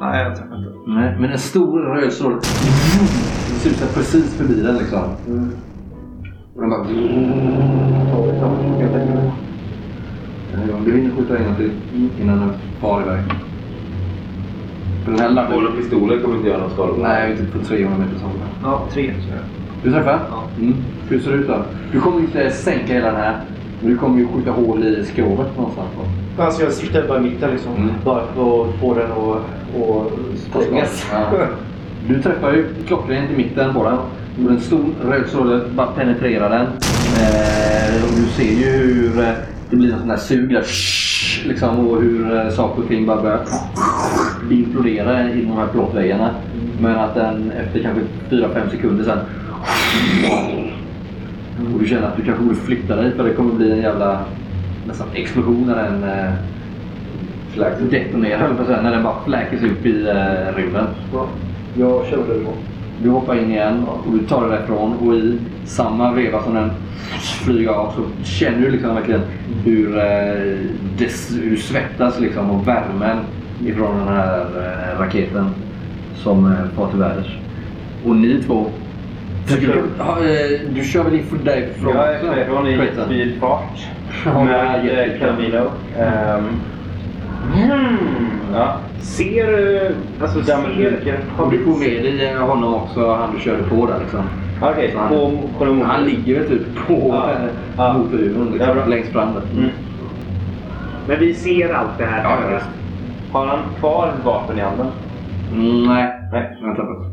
Nej, jag tappar inte.
Nej, men en stor röd stråle susar precis förbi den liksom.
mm.
Och den bara... Nej, Om du hinner skjuta en gång till innan den far iväg. För Den här
Båda
laddar...
pistolen kommer inte göra någon skada.
Nej, inte på 300 meters håll.
Ja, tre tror jag.
Du träffar?
Ja.
Mm. Hur ser det ut då? Du kommer inte sänka hela den här. Men du kommer ju skjuta hål i skrovet någonstans. va?
Alltså jag siktar bara i mitten liksom.
Mm.
Bara för att få den att och stängas.
Ja. Du träffar ju klockrent i mitten på den. Och en stor röd stråle bara penetrerar den. Eh, och du ser ju hur eh, det blir en sån där sug där. Liksom, och hur eh, saker och ting bara börjar implodera i de här plåtväggarna. Men att den efter kanske 4-5 sekunder sen och du känner att du kanske borde flytta dig för det kommer bli en jävla nästan explosion när den eh, detonerar höll jag på att säga, när den bara fläker sig upp i eh, rymden.
Ja, jag kör väl på.
Du hoppar in igen och du tar dig därifrån och i samma veva som den flyger av så känner du liksom verkligen hur eh, det hur du svettas liksom och värmen ifrån den här eh, raketen som eh, far till väders. Och ni två du, ja, eh, du kör väl ifrån därifrån?
Jag är därifrån i
Skiten.
speedfart
Ja,
med
jättebra.
eh, Calvino. Ehm, hmm, ja.
Ser du... Alltså, ser,
Och du får med dig eh, honom också, han du körde på där liksom.
Okej,
Så han-
på
Men
Kolomon.
Han ligger väl typ på
Mm. Ja.
eh,
Ja.
motorhuven
Ja,
liksom,
bra.
längst fram där.
Mm.
men vi ser allt det här.
Ja, ja, visst.
Har han kvar vapen i handen?
Mm, nej,
Nej.
han har tappat.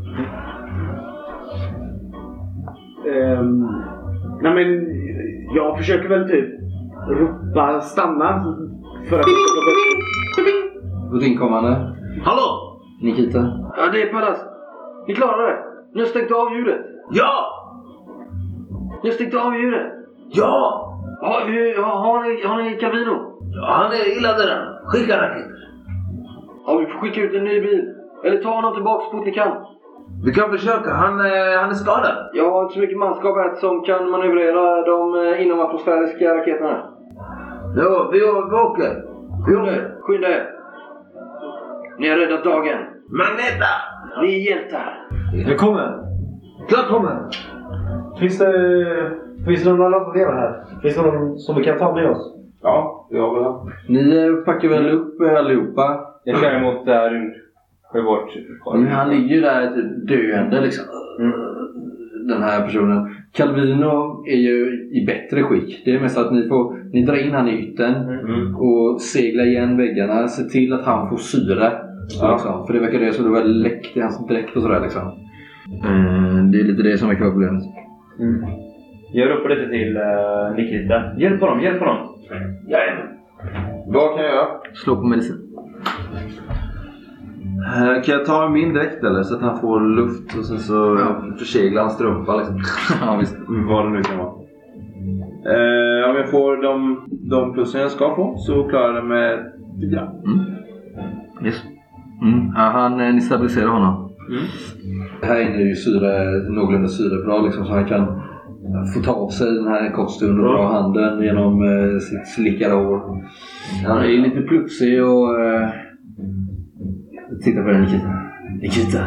Ehm, nej men jag försöker väl typ ropa stanna. För att...
Vårt inkommande,
Hallå!
Nikita.
Ja, det är Pallas. Vi klarar det. Ni har stängt av ljudet.
Ja!
Ni har stängt av ljudet.
Ja!
Ja, hur, har, har ni, har ni Calvino?
Han är illa däran. Skicka raketer.
Ja, vi får skicka ut en ny bil. Eller ta honom tillbaka så fort ni kan.
Vi kan försöka. Han, eh, han är skadad.
Jag har inte så mycket manskap här som kan manövrera de eh, inomatmosfäriska raketerna.
Ja, vi, vi åker. Vi åker.
Skynda er! Ni har räddat dagen.
Magneta!
Ni är hjältar.
Jag kommer!
Klart kommer.
Finns det, finns det någon annan som lever här? Finns det någon som vi kan ta med oss?
Ja, det har väl han.
Ni eh, packar väl upp eh, allihopa.
Jag
Mm.
kör eh, emot där rymdsjövårdsfolk.
Men han ligger ju där typ döende liksom. Den här personen. Calvino är ju i bättre skick. Det är mest att ni får ni drar in han i ytten
Mm.
och seglar igen väggarna. Se till att han får syre. Liksom. För det verkar det som det var läckt i hans dräkt och sådär liksom. Eh, det är lite det som är problemet.
Jag ropar lite till eh, Nikita. Hjälp honom, hjälp honom!
Vad kan jag göra?
Slå på medicin.
Eh, Kan jag ta min dräkt eller? Så att han får luft och sen så
Ja.
förseglar han strumpa liksom.
[LAUGHS] ja, visst.
Vad det nu kan vara. Eh, om jag får de, de plussen jag ska få så klarar jag det med fyra.
Yes. Mm. Ja, han, eh, ni stabiliserar honom. Här inne är ju syre, någorlunda syrebra liksom, så han kan eh, få ta av sig den här kosten och dra handen genom eh, sitt slickade hår. Han är ju lite plufsig och... Eh, titta på den Nikita. Nikita.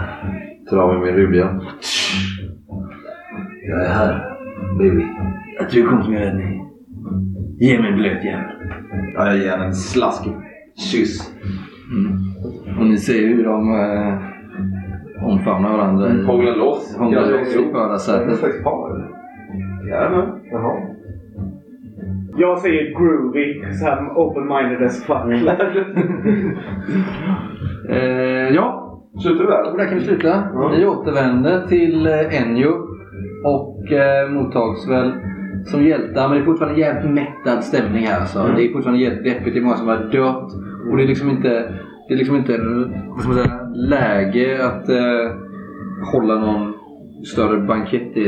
Tar av mig min rubiga.
Jag är här, baby. Att du kom till min räddning. Ge mig en blöt jävel.
Ja, jag ger honom en slaskig kyss.
Och ni ser ju hur de eh, omfamnar varandra. i-
Hångla loss.
Hånglar
Ja,
Mm. loss i förarsätet.
slags par eller? Jajamän.
Jaha.
Jag säger groovy. Så här open-minded as fuck.
Eh, ja,
Slutar du där?
Och där kan vi sluta. Ni återvänder till eh, Enjo och eh, mottags väl som hjältar. Men det är fortfarande jävligt mättad stämning här. Alltså. Det är fortfarande jävligt deppigt. Det är många som har dött. Och det är liksom inte, det är liksom inte vad ska man säga, läge att eh, hålla någon större bankett i,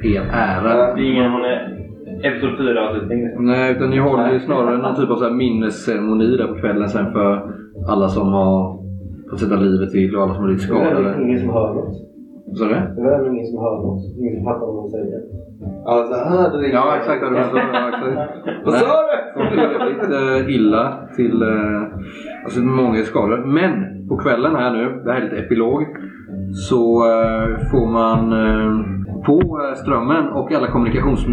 i er ära.
Det är ingen eh, Episod 4-avslutning.
Nej, utan ni håller ju snarare någon typ av så här minnesceremoni där på kvällen sen för alla som har fått sätta livet till och alla som har blivit
Det är väl
skadade.
ingen som hör något.
Vad sa du?
Det är väl ingen som hör något. Ingen som fattar vad de säger.
Alltså, här det
Ja, exakt. Vad du sa. Ja, exakt. [LAUGHS]
Vad
Nej,
sa du?
folk är väldigt eh, illa till... eh, alltså många är skadade. Men på kvällen här nu, det här är lite epilog. Så eh, får man eh, på eh, strömmen och alla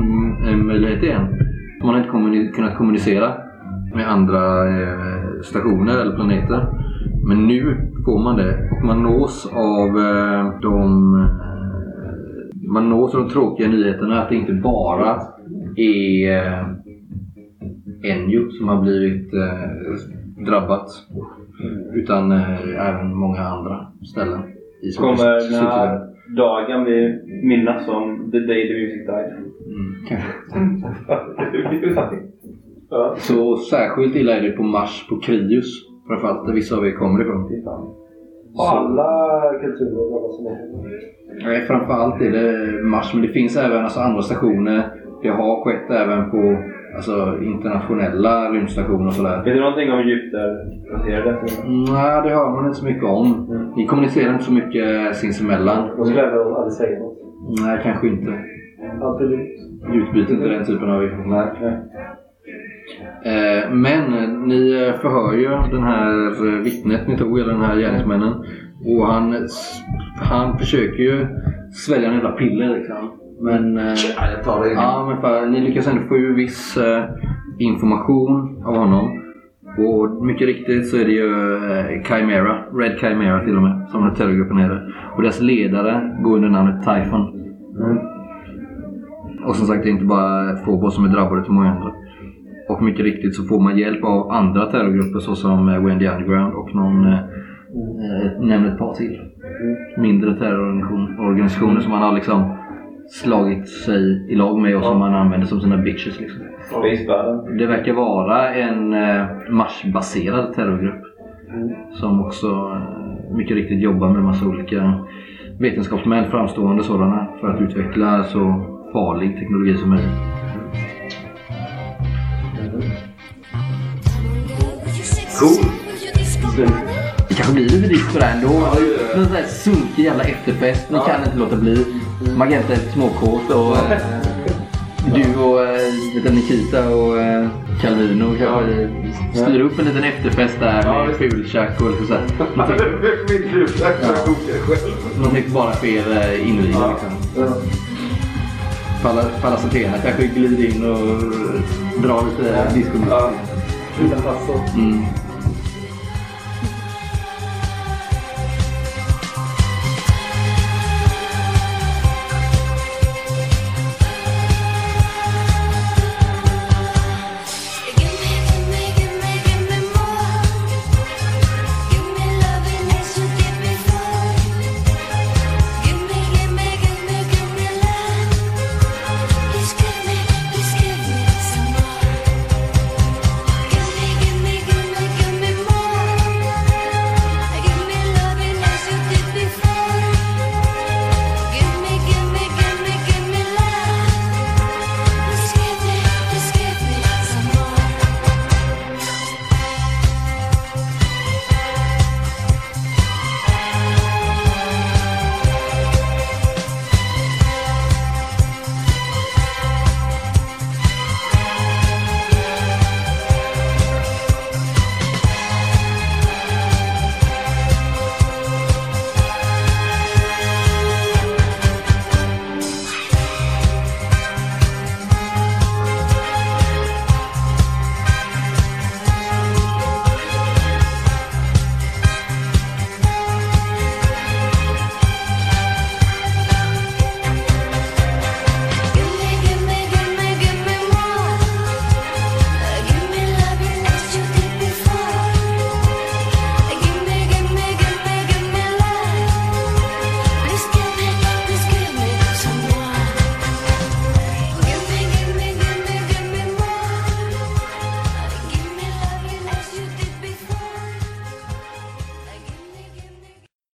kommunikationsmöjligheter igen. Man har inte kommuni- kunnat kommunicera med andra eh, stationer eller planeter. Men nu får man det och man nås av eh, de eh, man nås av de tråkiga nyheterna att det inte bara är eh, Enjo som har blivit eh, drabbat. Utan eh, även många andra ställen. I
Kommer den
Sydsverige.
här dagen vi minnas som the day the music died?
Mm, kanske. Så särskilt illa är det på Mars, på Krius. Framförallt där vissa av er kommer ifrån.
Och alla kulturer, alla som är
Nej, framförallt är det Mars, men det finns även alltså, andra stationer. Det har skett även på alltså, internationella rymdstationer och sådär.
Vet du någonting om Jupiter-baserade?
Nej, det hör man inte så mycket om. Ni kommunicerar inte så mycket sinsemellan.
De skulle även aldrig säga något.
Nej, kanske inte.
Alltid lugnt.
Utbyter inte den typen av information. Eh, Men eh, ni eh, förhör ju den här eh, vittnet ni tog, eller den här gärningsmännen. Och han, eh, s- han försöker ju svälja en jävla piller liksom. Men... eh,
jag tar det.
Ja, men för, ni lyckas ändå få ur viss eh, information av honom. Och mycket riktigt så är det ju eh, Chimera, Red Chimera till och med, som den här terrorgruppen heter. Och dess ledare går under namnet Typhon. Och som sagt, det är inte bara Phobos som är drabbade utan många andra. Och mycket riktigt så får man hjälp av andra terrorgrupper såsom eh, Wendy Underground och någon, eh, eh, nämn ett par till, mindre terrororganisationer som man har liksom slagit sig i lag med och som man använder som sina bitches. Liksom.
Space Battle.
Det verkar vara en eh, Mars-baserad terrorgrupp som också eh, mycket riktigt jobbar med massa olika vetenskapsmän, framstående sådana, för att utveckla så farlig teknologi som möjligt.
Cool.
Det kanske blir lite dyrt sådär ändå. En sån där sunkig jävla efterfest. Ni kan inte låta bli. Magenta är småkåt och eh, du och eh, lite Nikita och eh, Calvino kanske eh, styr upp en liten efterfest där med fultjack och [LAUGHS] liksom sådär. Man tänker-
Min luta
Ja.
kokar själv.
man tänker bara på er eh, invigning liksom. Pala- Pallas Athena kanske glider in och drar lite discomusik.
Utan passord.
Mm.